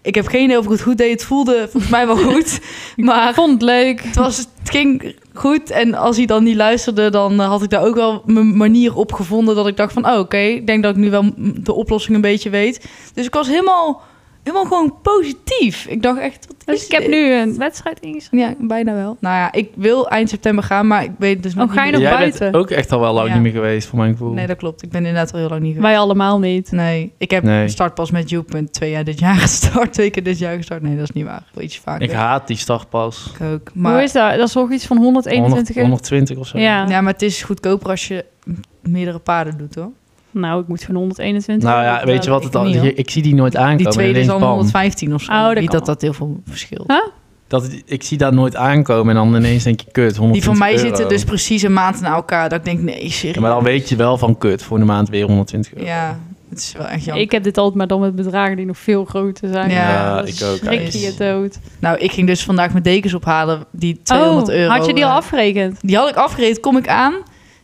S1: Ik heb geen idee of ik het goed deed. Het voelde volgens mij wel goed. Maar
S3: Ik vond het leuk.
S1: het, was, het ging goed. En als hij dan niet luisterde, dan eh, had ik daar ook wel mijn manier op gevonden. Dat ik dacht van, oh, oké, ik denk dat ik nu wel m- de oplossing een beetje weet. Dus ik was helemaal helemaal gewoon positief. Ik dacht echt, wat
S3: Dus
S1: is
S3: ik heb
S1: dit?
S3: nu een wedstrijd ingeschreven.
S1: Ja, bijna wel. Nou ja, ik wil eind september gaan, maar ik weet dus nog
S3: Oh, ga je
S1: niet-
S3: nog
S2: Jij bent
S3: buiten?
S2: ook echt al wel lang
S1: Ja.
S2: niet meer geweest, voor mijn gevoel.
S1: Nee, dat klopt. Ik ben inderdaad al heel lang niet geweest.
S3: Wij allemaal niet.
S1: Nee, ik heb
S2: Nee.
S1: startpas met Joep twee jaar dit jaar gestart. Twee keer dit jaar gestart. Nee, dat is niet waar. Ik wil ietsje vaker.
S2: ik haat die startpas.
S1: Ik ook.
S3: Hoe
S1: Maar,
S3: is dat? Dat is toch iets van 121
S2: 100,
S3: euro?
S2: 120 of zo.
S3: Ja.
S1: ja, maar het is goedkoper als je meerdere paden doet, hoor.
S3: Nou, ik moet gewoon 121
S2: Nou
S3: euro
S2: ja, weet je wat het
S1: Ik
S2: al,
S1: niet, hoor.
S2: ik, zie die nooit aankomen.
S1: Die tweede is
S2: ineens
S1: al
S2: bam.
S1: 115 of zo.
S3: Oh, dat
S1: niet
S3: kan
S1: dat dat heel veel verschil.
S3: Huh?
S2: dat, ik zie dat nooit aankomen en dan ineens denk je, kut, 120
S1: Die van mij
S2: euro.
S1: zitten dus precies een maand na elkaar. Dat ik denk, nee, serieus.
S2: Ja, maar dan weet je wel van, kut, voor de maand weer 120 euro.
S1: Ja, het is wel echt jammer.
S3: Ik heb dit altijd maar dan met bedragen die nog veel groter zijn.
S1: Ja,
S3: dat
S2: ik ook
S3: Schrik je je
S2: eigenlijk.
S3: dood.
S1: Nou, ik ging dus vandaag mijn dekens ophalen. Die 200
S3: oh,
S1: euro.
S3: had je die al
S1: eh,
S3: afgerekend?
S1: Die had ik afgereed. Kom ik aan.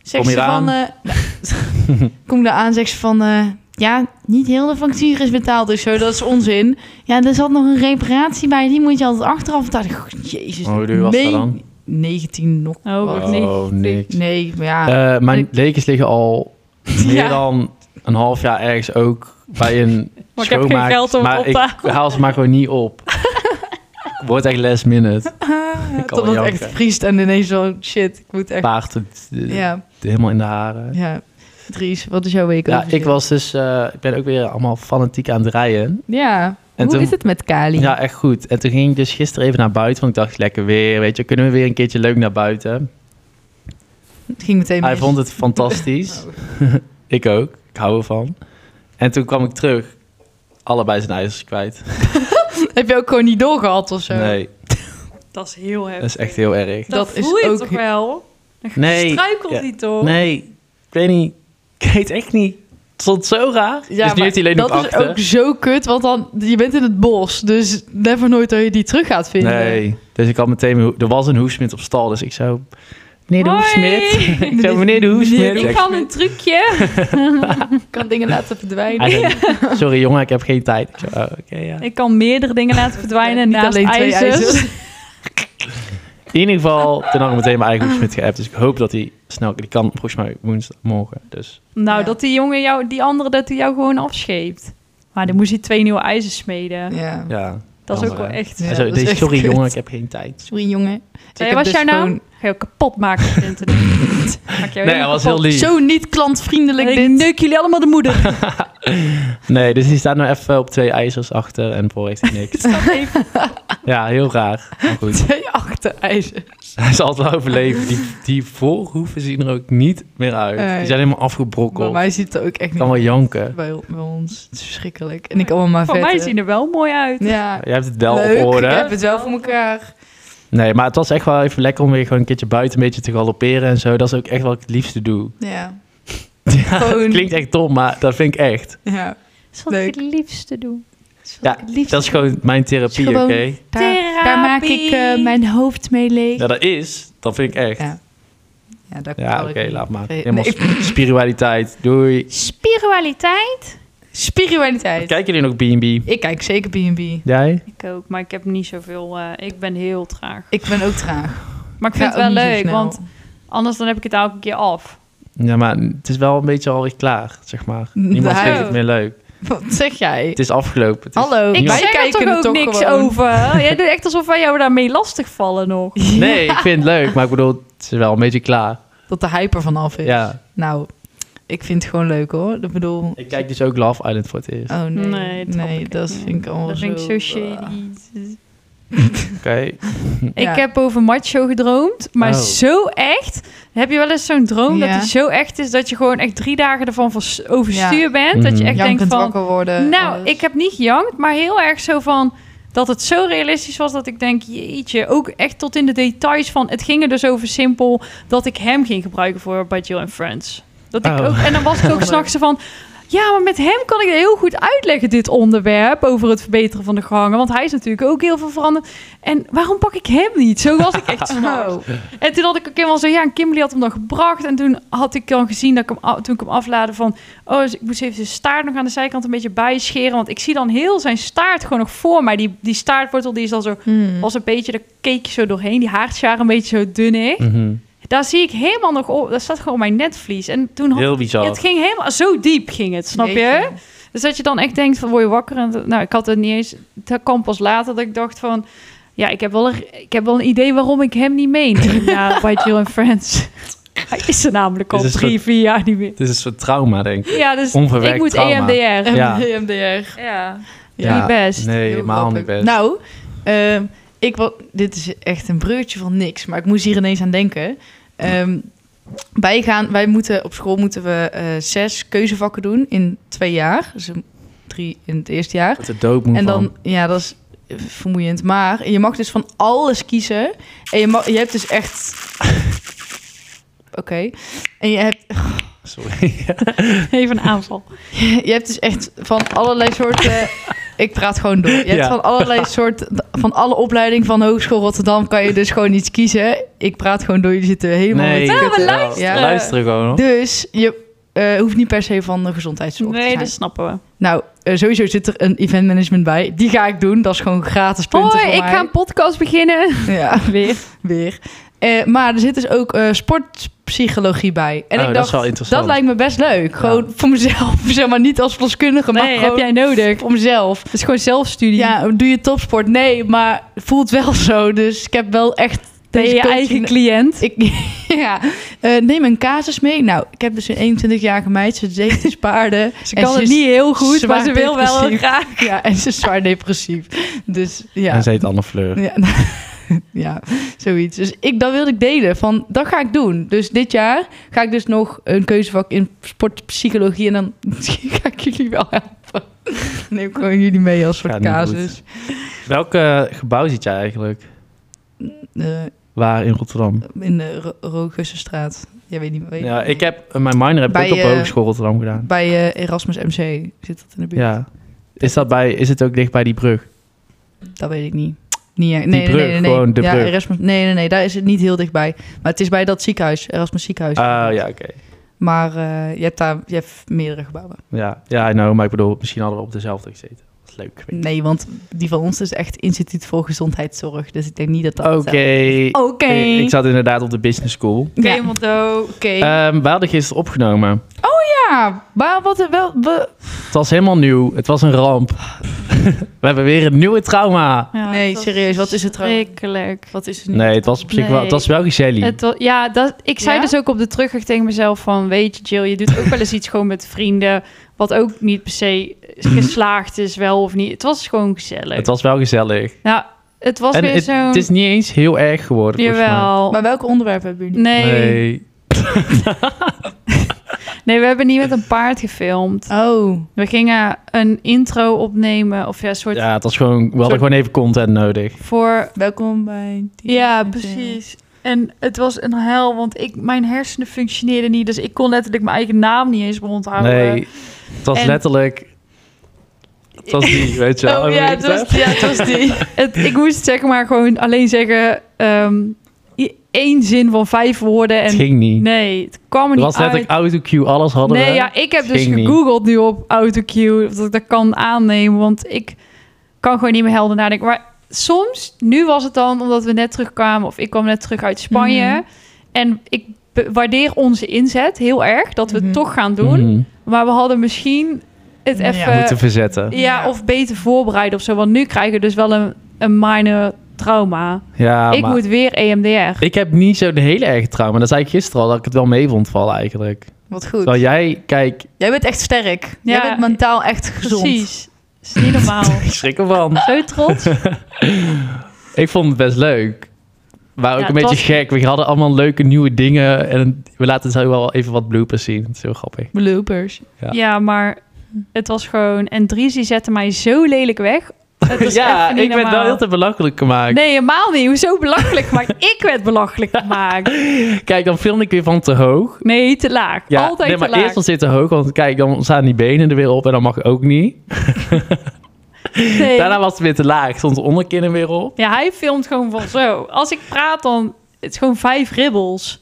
S1: Zegt
S2: Kom je
S1: ze van... eh, kom ik daar aan, zegt ze van... eh, ja, niet heel de factuur is betaald. Dus zo, dat is onzin. Ja, er zat nog een reparatie bij. Die moet je altijd achteraf betalen. Ik dacht, Jezus.
S2: Oh, hoe duur was dat
S1: nee,
S2: dan?
S1: 19 nog.
S3: Oh,
S1: wat.
S3: wordt niet.
S2: Oh, niks.
S1: Nee, maar ja.
S3: Ah,
S2: Eh, mijn
S1: Ik-
S2: dekens liggen al meer
S1: Ja.
S2: dan een half jaar ergens ook bij een
S3: Maar ik heb geen
S2: schoonmaak.
S3: geld om het
S2: maar
S3: op te
S2: ik
S3: halen.
S2: haal ze maar gewoon niet op. Wordt echt last minute.
S1: Ah,
S2: Eh, kan wel
S1: Totdat het
S2: janken.
S1: echt vriest en ineens zo... Shit, ik moet echt...
S2: Paard het eh,
S1: Ja,
S2: helemaal in de haren.
S1: ja. Dries, wat is jouw week?
S2: Ja,
S1: overzicht?
S2: ik was dus, eh, ik ben ook weer allemaal fanatiek aan het rijden.
S1: Ja,
S2: En
S1: hoe
S2: toen-
S1: is het met Kali?
S2: Ja, echt goed. En toen ging ik dus gisteren even naar buiten, want ik dacht, lekker weer, weet je, kunnen we weer een keertje leuk naar buiten.
S1: Het ging meteen
S2: Hij
S1: mis.
S2: vond het fantastisch.
S3: Oh.
S2: ik ook, ik hou ervan. En toen kwam ik terug, allebei zijn ijzers kwijt.
S1: Heb je ook gewoon niet doorgehad of zo?
S2: Nee,
S3: Dat is heel heftig.
S2: dat is echt heel erg.
S1: Dat is ook-
S3: wel? Dan
S2: Nee, ja,
S3: niet toch?
S2: Nee, ik weet niet. Ik weet echt niet. Het stond zo raar.
S1: Ja,
S2: dus nu
S1: maar
S2: heeft hij alleen nog
S1: dat is
S2: achter.
S1: ook zo kut, want dan, je bent in het bos, dus never nooit dat je die terug gaat vinden.
S2: Nee, dus ik had meteen... mijn hoe- Er was een hoefsmid op stal, dus ik zou... Meneer de
S3: Hoi.
S2: hoefsmid. ik zou meneer de hoefsmid.
S3: Ik kan een trucje.
S1: Ik kan dingen laten verdwijnen.
S2: Hij zei, Sorry jongen, ik heb geen tijd. Ik zo, oh, oké, ja.
S3: Ik kan meerdere dingen laten verdwijnen
S1: Niet
S3: naast
S1: alleen twee
S3: ijzers.
S1: ijzers.
S2: In ieder geval, toen had ik meteen mijn eigen hoefsmid geappt. Dus ik hoop dat hij snel... Die kan volgens mij woensdagmorgen. Dus
S3: Nou,
S1: Ja.
S3: dat die jongen jou, die andere, dat hij jou gewoon afscheept. Maar dan moest hij twee nieuwe ijzers smeden.
S1: Ja.
S2: ja.
S3: Dat is ook
S2: andere.
S3: wel echt.
S1: Ja,
S2: Hij zo,
S1: dat is
S2: "Nee,
S1: echt
S2: sorry
S1: kut."
S2: jongen, ik heb geen tijd.
S1: Sorry jongen.
S3: Zei,
S1: Ik heb
S3: wat is
S1: dus
S3: jouw naam?
S1: gewoon-
S3: Ga je ook kapot maken op het internet. Maak jou
S2: Nee,
S3: helemaal
S2: hij was heel
S3: kapot.
S2: lief.
S1: Zo niet klantvriendelijk
S3: Ik
S1: dit.
S3: neuk jullie allemaal de moeder.
S2: Nee, dus hij staat nu even op twee ijzers achter en voor heeft hij niks. Ja, heel raar. Maar goed.
S1: Twee achterijzers.
S2: Hij zal het wel overleven. Die, die voorhoeven zien er ook niet meer uit.
S1: Nee.
S2: Die zijn helemaal
S1: Maar
S2: afgebrokkeld.
S1: mij ziet het ook echt
S2: Ik kan
S1: niet
S2: wel janken.
S1: bij, bij ons. Het is verschrikkelijk. En ik allemaal maar
S3: Voor mij
S1: vetten.
S3: zien er wel mooi uit.
S1: Ja,
S2: Jij hebt het wel
S1: leuk.
S2: op orde.
S1: Ik heb het wel voor elkaar.
S2: Nee, maar het was echt wel even lekker om weer gewoon een keertje buiten een beetje te galopperen en zo. Dat is ook echt wat ik het liefste doe.
S1: Ja.
S2: Ja, dat
S1: Gewoon.
S2: klinkt echt dom, maar dat vind ik echt.
S1: ja.
S3: Dat is wat
S1: Leuk.
S3: ik het liefste doe.
S2: Ja, dat is gewoon mijn therapie,
S1: Gewoon-
S2: oké?
S1: Daar, daar maak ik eh,
S3: Therapie.
S1: mijn hoofd mee leeg.
S2: Ja, dat is. Dat vind ik echt.
S1: Ja.
S2: Ja,
S1: Ja, dat
S2: oké, laat maar.
S1: Nee,
S2: Helemaal
S1: nee.
S2: sp- spiritualiteit. Doei.
S3: Spiritualiteit.
S1: Spiritualiteit.
S2: Kijken jullie nog B&B?
S1: Ik kijk zeker B&B.
S2: Jij?
S3: Ik ook, maar ik heb niet zoveel. eh, ik ben heel traag.
S1: Ik ben ook traag.
S3: Maar ik vind
S1: Ja,
S3: het wel
S1: ook niet zo
S3: leuk,
S1: snel.
S3: want anders dan heb ik het elke keer af.
S2: Ja, maar het is wel een beetje alweer klaar, zeg maar.
S1: Nee.
S2: Niemand vindt het meer leuk.
S1: Wat zeg jij?
S2: Het is afgelopen. Het is-
S1: Hallo,
S3: Ik
S1: Oh, wij
S2: niemand-
S3: zeg er
S1: kijken
S3: toch ook
S1: er toch
S3: niks
S1: gewoon.
S3: over. Jij doet echt alsof wij jou daarmee lastigvallen nog.
S2: Nee, ik vind het leuk, maar ik bedoel, het is wel een beetje klaar.
S1: Dat de hype er vanaf is.
S2: Ja.
S1: Nou, ik vind het gewoon leuk hoor. Ik bedoel...
S2: Ik kijk dus ook Love Island voor het eerst.
S1: Oh nee, nee,
S3: Nee, dat snap ik
S1: dat
S3: ook niet.
S1: vind ik allemaal
S3: Dat
S1: Oh, zo...
S3: vind ik zo
S1: Ah.
S3: shady.
S2: Oké.
S1: Ja.
S3: Ik heb over macho gedroomd, maar
S2: Oh.
S3: zo echt. Heb je wel eens zo'n droom
S1: Ja.
S3: dat die zo echt is dat je gewoon echt drie dagen ervan vers- overstuur
S1: Ja.
S3: bent? Dat je
S2: Mhm.
S3: echt denkt
S1: Jankend
S3: van,
S1: wakker worden.
S3: nou,
S1: alles.
S3: ik heb niet gejankt, maar heel erg zo van dat het zo realistisch was dat ik denk, jeetje, ook echt tot in de details van. Het ging er dus over simpel dat ik hem ging gebruiken voor bij Jill and Friends. Dat ik
S2: Oh.
S3: ook, en dan was ik ook s'nachts zo van. Ja, maar met hem kan ik heel goed uitleggen dit onderwerp over het verbeteren van de gangen. Want hij is natuurlijk ook heel veel veranderd. En waarom pak ik hem niet? Zo was ik echt zo.
S1: Oh.
S3: En toen had ik ook helemaal zo, ja, en Kimberly had hem dan gebracht. En toen had ik dan gezien dat ik hem, a- toen ik hem afladen van, oh, dus ik moest even zijn staart nog aan de zijkant een beetje bijscheren. Want ik zie dan heel zijn staart gewoon nog voor mij. Die, die staartwortel, die is dan zo,
S1: Hmm.
S3: was een beetje, daar keek je zo doorheen. Die haartjaar een beetje zo dunnig.
S2: Mhm.
S3: Daar zie ik helemaal nog op, daar staat gewoon op mijn netvlies. En toen had,
S2: Heel bizar.
S3: het ging helemaal, zo diep ging het, snap je?
S1: Jeetje.
S3: Dus dat je dan echt denkt van word je wakker en nou ik had het niet eens. Dat kwam pas later dat ik dacht van ja ik heb wel een, ik heb wel een idee waarom ik hem niet meeneem naar bij Jill and Friends. Hij is er namelijk al
S2: Dit is een
S3: drie vier jaar niet meer.
S2: Het is een soort trauma, denk ik.
S3: Ja dus
S2: Onverwerkt
S3: ik moet
S2: trauma.
S3: EMDR.
S2: Ja.
S1: EMDR.
S3: Ja.
S2: Ja.
S3: Niet best.
S2: Nee,
S1: Heel
S2: helemaal niet
S1: grappig.
S2: best.
S1: Nou, ehm, ik wa- dit is echt een breurtje van niks, maar ik moest hier ineens aan denken. Ehm, wij gaan, wij moeten op school moeten we eh, zes keuzevakken doen in twee jaar, dus een- drie in het eerste jaar.
S2: Wat er dood moet
S1: En
S2: van.
S1: dan, ja, dat is eh, vermoeiend, maar je mag dus van alles kiezen en je, mag, je hebt dus echt, oké, en je hebt,
S2: Sorry.
S3: Even een aanval.
S1: je hebt dus echt van allerlei soorten. Ik praat gewoon door. Je hebt
S2: Ja.
S1: van allerlei soorten. Van alle opleiding van Hogeschool Rotterdam kan je dus gewoon iets kiezen. Ik praat gewoon door. Jullie zitten helemaal.
S2: nee,
S1: met-
S3: we
S2: wel.
S3: luisteren.
S2: We luisteren gewoon. hoor.
S1: Dus je eh, hoeft niet per se van de gezondheidszorg te
S3: Nee
S1: zijn.
S3: dat
S2: dus-
S3: snappen we.
S1: Nou, eh, sowieso zit er een eventmanagement bij. Die ga ik doen. Dat is gewoon gratis punten
S3: Hoi
S1: voor
S3: ik
S1: mij.
S3: ga een podcast beginnen.
S1: Ja,
S3: Weer.
S1: weer. Eh, maar er zit dus ook eh, sportpsychologie bij. En
S2: Oh,
S1: ik
S2: dat
S1: dacht,
S2: is wel interessant.
S1: dat lijkt me best leuk. Gewoon voor mezelf. Zeg maar niet als verloskundige, maar
S3: Nee,
S1: gewoon
S3: heb jij nodig.
S1: voor mezelf.
S3: Het is gewoon zelfstudie.
S1: Ja, doe je topsport? Nee, maar voelt wel zo. Dus ik heb wel echt
S3: ben je,
S1: deze
S3: je
S1: coaching-
S3: eigen cliënt.
S1: Ik, ja, Eh, neem een casus mee. Nou, ik heb dus een 21-jarige meid. Ze deed dus paarden.
S3: Ze
S1: En
S3: kan
S1: ze
S3: het
S1: is
S3: niet heel goed, maar
S1: zwaar
S3: ze wil wel heel
S1: depressief.
S3: graag.
S1: Ja, en ze is zwaar depressief. Dus ja.
S2: En ze heet Anne Fleur.
S1: Ja, ja, zoiets. Dus ik, dat wilde ik delen. Van, dat ga ik doen. Dus dit jaar ga ik dus nog een keuzevak in sportpsychologie. En dan ga ik jullie wel helpen. Neem gewoon jullie mee als soort
S2: Gaat niet goed.
S1: casus.
S2: Welk eh, gebouw zit jij eigenlijk?
S1: Eh,
S2: Waar in Rotterdam?
S1: in de Ro- Roogussenstraat. Jij weet niet meer.
S2: Ja, ik heb eh, mijn minor heb
S1: Bij,
S2: ik ook op
S1: eh,
S2: Hogeschool Rotterdam gedaan.
S1: Bij eh, Erasmus MC zit dat in de buurt.
S2: Ja. Is, dat bij, is het ook dicht bij die brug?
S1: Dat weet ik niet. niet echt. nee, nee,
S2: brug,
S1: nee, nee, nee.
S2: gewoon de
S1: ja,
S2: brug.
S1: Erasmus, nee, nee, nee, daar is het niet heel dichtbij. Maar het is bij dat ziekenhuis, Erasmus ziekenhuis.
S2: Ah, ja, oké.
S1: Maar eh, je, hebt daar, je hebt meerdere gebouwen.
S2: Ja, ja nou, maar ik bedoel, misschien hadden we op dezelfde gezeten. Dat is leuk.
S1: Nee, want die van ons is echt Instituut voor Gezondheidszorg. Dus ik denk niet dat dat...
S2: Oké.
S1: Oké.
S2: Ik, ik zat inderdaad op de business school.
S1: Ja.
S3: Mondo.
S1: Oké.
S2: Ehm we hadden gisteren opgenomen.
S1: ja, maar wat er wel... we-
S2: Het was helemaal nieuw. Het was een ramp. we hebben weer een nieuwe trauma.
S1: Nee, serieus, wat is het trouwens?
S3: Schrikkelijk.
S1: Wat is er nu?
S2: Nee, het was op zich wel, het was wel gezellig.
S3: Het wa- ja, dat, ik zei
S1: Ja?
S3: dus ook op de terugweg tegen mezelf van... weet je Jill, je doet ook wel eens iets gewoon met vrienden... wat ook niet per se geslaagd is, wel of niet. Het was gewoon gezellig.
S2: Het was wel gezellig.
S3: Nou, het was
S2: en
S3: weer
S2: het,
S3: zo'n...
S2: het is niet eens heel erg geworden. volgens mij.
S3: Jawel.
S1: Maar welke onderwerpen hebben jullie?
S3: nee. nee.
S2: Nee.
S3: we hebben niet met een paard gefilmd.
S1: Oh,
S3: We gingen een intro opnemen of ja, een soort
S2: Ja, het was gewoon, we hadden
S3: Soort-
S2: gewoon even content nodig.
S3: voor
S1: welkom bij... die-
S3: Ja, precies. En het was een hel, want ik, mijn hersenen functioneerden niet. Dus ik kon letterlijk mijn eigen naam niet eens meer onthouden.
S2: Nee, het was
S3: En-
S2: letterlijk... Het was die, weet je wel.
S1: Oh
S2: hoe
S1: ja,
S2: heet
S1: het was, ja, het was die.
S3: Het, ik moest zeg maar gewoon alleen zeggen... ehm, i- één zin van vijf woorden.
S2: Het
S3: En
S2: ging niet.
S3: nee, het kwam er
S2: Het
S3: niet
S2: was
S3: uit.
S2: letterlijk autocue, alles hadden
S3: Nee,
S2: we.
S3: ja, ik heb
S2: Het
S3: dus
S2: ging niet.
S3: gegoogeld nu op autocue. Of dat ik dat kan aannemen, want ik kan gewoon niet meer helder nadenken. Maar soms, nu was het dan omdat we net terugkwamen... of ik kwam net terug uit Spanje...
S1: Mhm.
S3: en ik be- waardeer onze inzet heel erg... dat we
S1: Mhm.
S3: het toch gaan doen...
S2: Mhm.
S3: Maar we hadden misschien het
S1: Ja.
S3: even... Ja,
S2: Moeten verzetten.
S3: of beter voorbereiden of zo. Want nu krijgen we dus wel een, een minor trauma.
S2: Ja,
S3: ik
S2: Ah, maar
S3: moet weer E EMDR.
S2: ik heb niet zo'n hele erge trauma. Dat zei ik gisteren al, dat ik het wel mee vond vallen eigenlijk.
S1: Wat goed.
S2: Terwijl jij, kijk,
S1: Jij bent echt sterk. Jij
S3: Ja.
S1: bent mentaal echt gezond.
S3: Precies. is niet normaal.
S2: ik schrik ervan.
S3: zo trots.
S2: ik vond het best leuk. Maar ook
S3: Ja,
S2: een
S3: het
S2: beetje
S3: was-
S2: gek. We hadden allemaal leuke nieuwe dingen. En we laten zo wel even wat bloopers zien. Het is heel grappig.
S1: Bloopers.
S2: Ja.
S3: Ja. maar het was gewoon... En Dries die zette mij zo lelijk weg. Het was
S2: ja,
S3: echt niet
S2: ik ben wel
S3: normaal.
S2: heel te belachelijk gemaakt.
S3: Nee, helemaal niet. Hoezo belachelijk Maar Ik werd belachelijk gemaakt.
S2: Kijk, dan film ik weer van te hoog.
S3: Nee, te laag.
S2: Ja,
S3: Altijd
S2: nee, maar
S3: te laag.
S2: eerst was dit te hoog. Want kijk, dan staan die benen er weer op. En dan mag ook niet.
S3: Nee.
S2: Daarna was het weer te laag. Stond de onderkin er weer op.
S3: Ja, hij filmt gewoon van zo. Als ik praat dan... Het is gewoon vijf ribbels.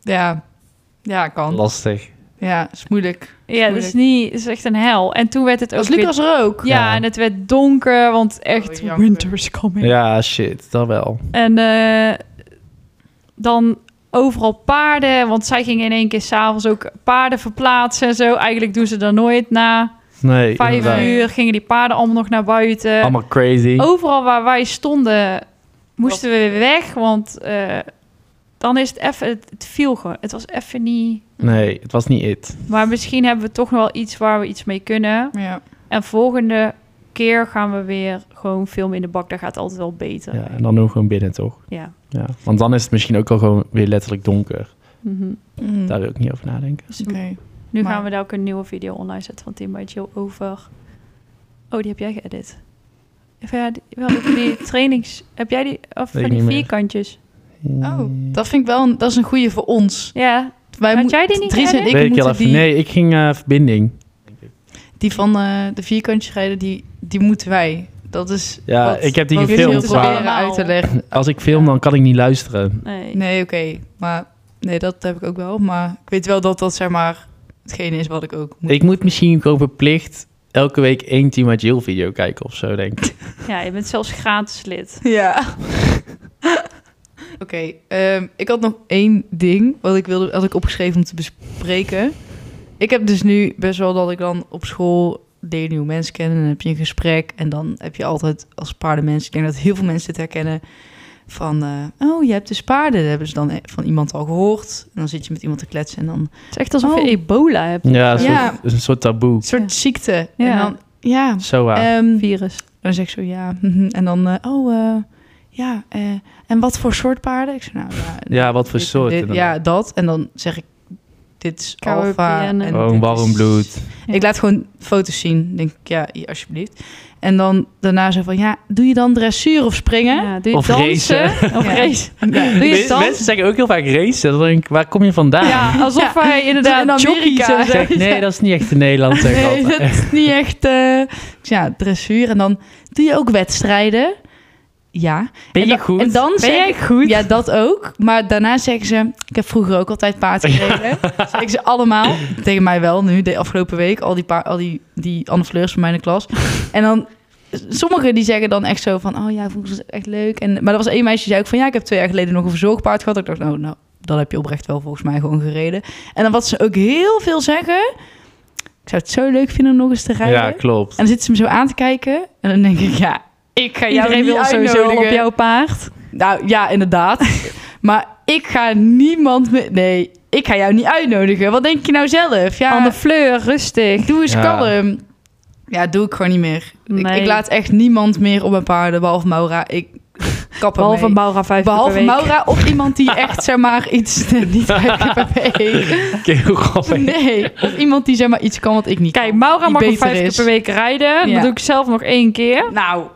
S1: Ja. Ja, kan.
S2: Lastig.
S1: Ja, is moeilijk.
S3: Ja, dat is, niet, dat is echt een hel. En toen werd het ook
S1: Was Lucas er ook? eh,
S3: weer... Ja,
S2: Ja.
S3: en het werd donker, want echt
S1: Oh, jammer.
S3: winter is coming.
S2: Ja, shit. Dat wel.
S3: En eh, dan overal paarden, want zij gingen in één keer s'avonds ook paarden verplaatsen en zo. Eigenlijk doen ze daar nooit na.
S2: Nee,
S3: Vijf
S2: inderdaad.
S3: uur eh, Oh. gingen die paarden allemaal nog naar buiten.
S2: Allemaal crazy.
S3: Overal waar wij stonden moesten we weer weg, want eh, dan is het even, het, het viel gewoon. Het was even niet,
S2: Nee, het was niet it.
S3: maar misschien hebben we toch nog wel iets waar we iets mee kunnen.
S1: Ja.
S3: En volgende keer gaan we weer gewoon filmen in de bak. Daar gaat het altijd wel beter.
S2: Ja, en dan doen we gewoon binnen, toch?
S3: Ja.
S2: Ja. Want dan is het misschien ook al gewoon weer letterlijk donker.
S3: Mhm.
S1: Mm.
S2: Daar wil ik niet over nadenken.
S3: Dus
S1: Oké.
S3: Nu
S1: Maar-
S3: gaan we daar ook een nieuwe video online zetten van Tim bij Jill over. Oh, die heb jij geëdit. Of ja, die, wel, over die trainings. Heb jij die? Of van
S2: ik
S3: die
S2: niet meer.
S3: vierkantjes? Mm.
S1: Oh, dat vind ik wel een, dat is een goede voor ons.
S3: Ja.
S1: Wij
S3: Had
S1: moet-
S3: jij die niet
S1: Dries en
S3: geëdit?
S1: ik
S2: Weet ik heel
S1: moeten
S2: even.
S1: die,
S2: Nee, ik ging eh, verbinding.
S1: die van eh, de vierkantjes rijden, die, die moeten wij. Dat is
S2: Ja,
S1: wat,
S2: ik heb die
S1: wat ik
S2: gefilmd,
S1: wil proberen
S3: maar-
S1: uit te leggen.
S2: Als ik film, dan kan ik niet luisteren.
S3: Nee.
S1: Nee, oké. Maar nee, dat heb ik ook wel. Maar ik weet wel dat dat zeg maar hetgene is wat ik ook moet.
S2: Ik moet misschien gewoon verplicht elke week één Team Jill video kijken of zo, denk ik.
S3: Ja, je bent zelfs gratis lid.
S1: Ja. Oké, ehm, ik had nog één ding wat ik wilde, had ik opgeschreven om te bespreken. Ik heb dus nu best wel dat ik dan op school leer je nieuwe mensen kennen en dan heb je een gesprek en dan heb je altijd als paardenmens, ik denk dat heel veel mensen dit herkennen van eh, oh je hebt dus paarden, dat hebben ze dan van iemand al gehoord en dan zit je met iemand te kletsen en dan
S3: Het is echt alsof
S1: Oh.
S3: je ebola hebt.
S2: Ja, een,
S1: Ja.
S2: Soort, een soort taboe.
S1: een soort
S3: Ja.
S1: ziekte
S3: Ja.
S1: en dan ja
S2: Zo waar.
S1: ehm,
S3: Virus.
S1: dan zeg ik zo ja. mhm. En dan, eh, oh eh, ja. eh, en wat voor soort paarden? Ik zeg nou ja.
S2: Ja, wat voor
S1: dit-
S2: soort,
S1: dit-
S2: inderdaad.
S1: ja, dat. En dan zeg ik, dit is
S3: KWPN.
S1: alfa. en
S3: Oh,
S2: Gewoon
S1: dit
S2: warm
S1: is-
S2: bloed.
S1: Ik laat gewoon foto's zien. Denk ik, ja, hier, alsjeblieft. En dan daarna zo van, ja, doe je dan dressuur of springen?
S3: Ja, doe je
S2: Of
S3: dansen? Of
S1: Ja.
S3: race.
S1: Ja.
S3: Doe je
S2: Mensen- Mensen
S3: dansen?
S2: zeggen ook heel vaak racen. Dan denk ik, waar kom je vandaan?
S3: Ja, alsof
S1: Ja.
S3: wij inderdaad
S1: In Amerika.
S3: jockeys
S1: Ja,
S2: Ik
S3: en zo.
S2: zeg, nee, dat is niet echt in Nederland, zeg ik
S1: Nee,
S2: altijd.
S1: dat is niet echt... eh, dus ja, dressuur. En dan doe je ook wedstrijden. Ja.
S2: Ben
S1: en
S2: je
S1: dan,
S2: goed?
S1: En dan zeg
S3: Ben jij
S1: ik-
S3: goed?
S1: Ja, dat ook. Maar daarna zeggen ze... Ik heb vroeger ook altijd paard gereden. Zeggen ze allemaal. Tegen mij wel nu, de afgelopen week. Al die, paar, al die, die Anne Fleurs van mijn klas. En dan... Sommigen die zeggen dan echt zo van... Oh ja, vroeger was het echt leuk. En, maar er was één meisje die zei ook van... Ja, ik heb twee jaar geleden nog een verzorgpaard gehad. Ik dacht, nou, nou, dat heb je oprecht wel volgens mij gewoon gereden. En dan wat ze ook heel veel zeggen... Ik zou het zo leuk vinden om nog eens te rijden.
S2: Ja, klopt.
S1: En dan zitten ze me zo aan te kijken. En dan denk ik, ja, ik ga jou
S3: Iedereen
S1: niet
S3: wil sowieso
S1: uitnodigen.
S3: al op jouw paard.
S1: Nou ja, inderdaad. maar ik ga niemand meer... Nee, ik ga jou niet uitnodigen. Wat denk je nou zelf? Ja,
S3: Aan de fleur, rustig.
S1: doe eens
S2: Ja.
S1: kalm. Ja, doe ik gewoon niet meer. Ik,
S3: Nee.
S1: ik laat echt niemand meer op mijn paarden, behalve Maura. Ik kap ermee.
S3: Behalve Maura vijf keer per
S1: Behalve
S3: week.
S1: Maura of iemand die echt, zeg maar, iets niet vijf keer per week.
S2: Oké, heel grappig.
S1: Nee, of iemand die, zeg maar, iets kan wat ik niet
S3: Kijk,
S1: kan.
S3: Maura
S1: Die
S3: mag nog
S1: beter
S3: vijf keer
S1: is.
S3: per week rijden.
S1: Ja.
S3: Dat doe ik zelf nog één keer.
S1: Nou, dat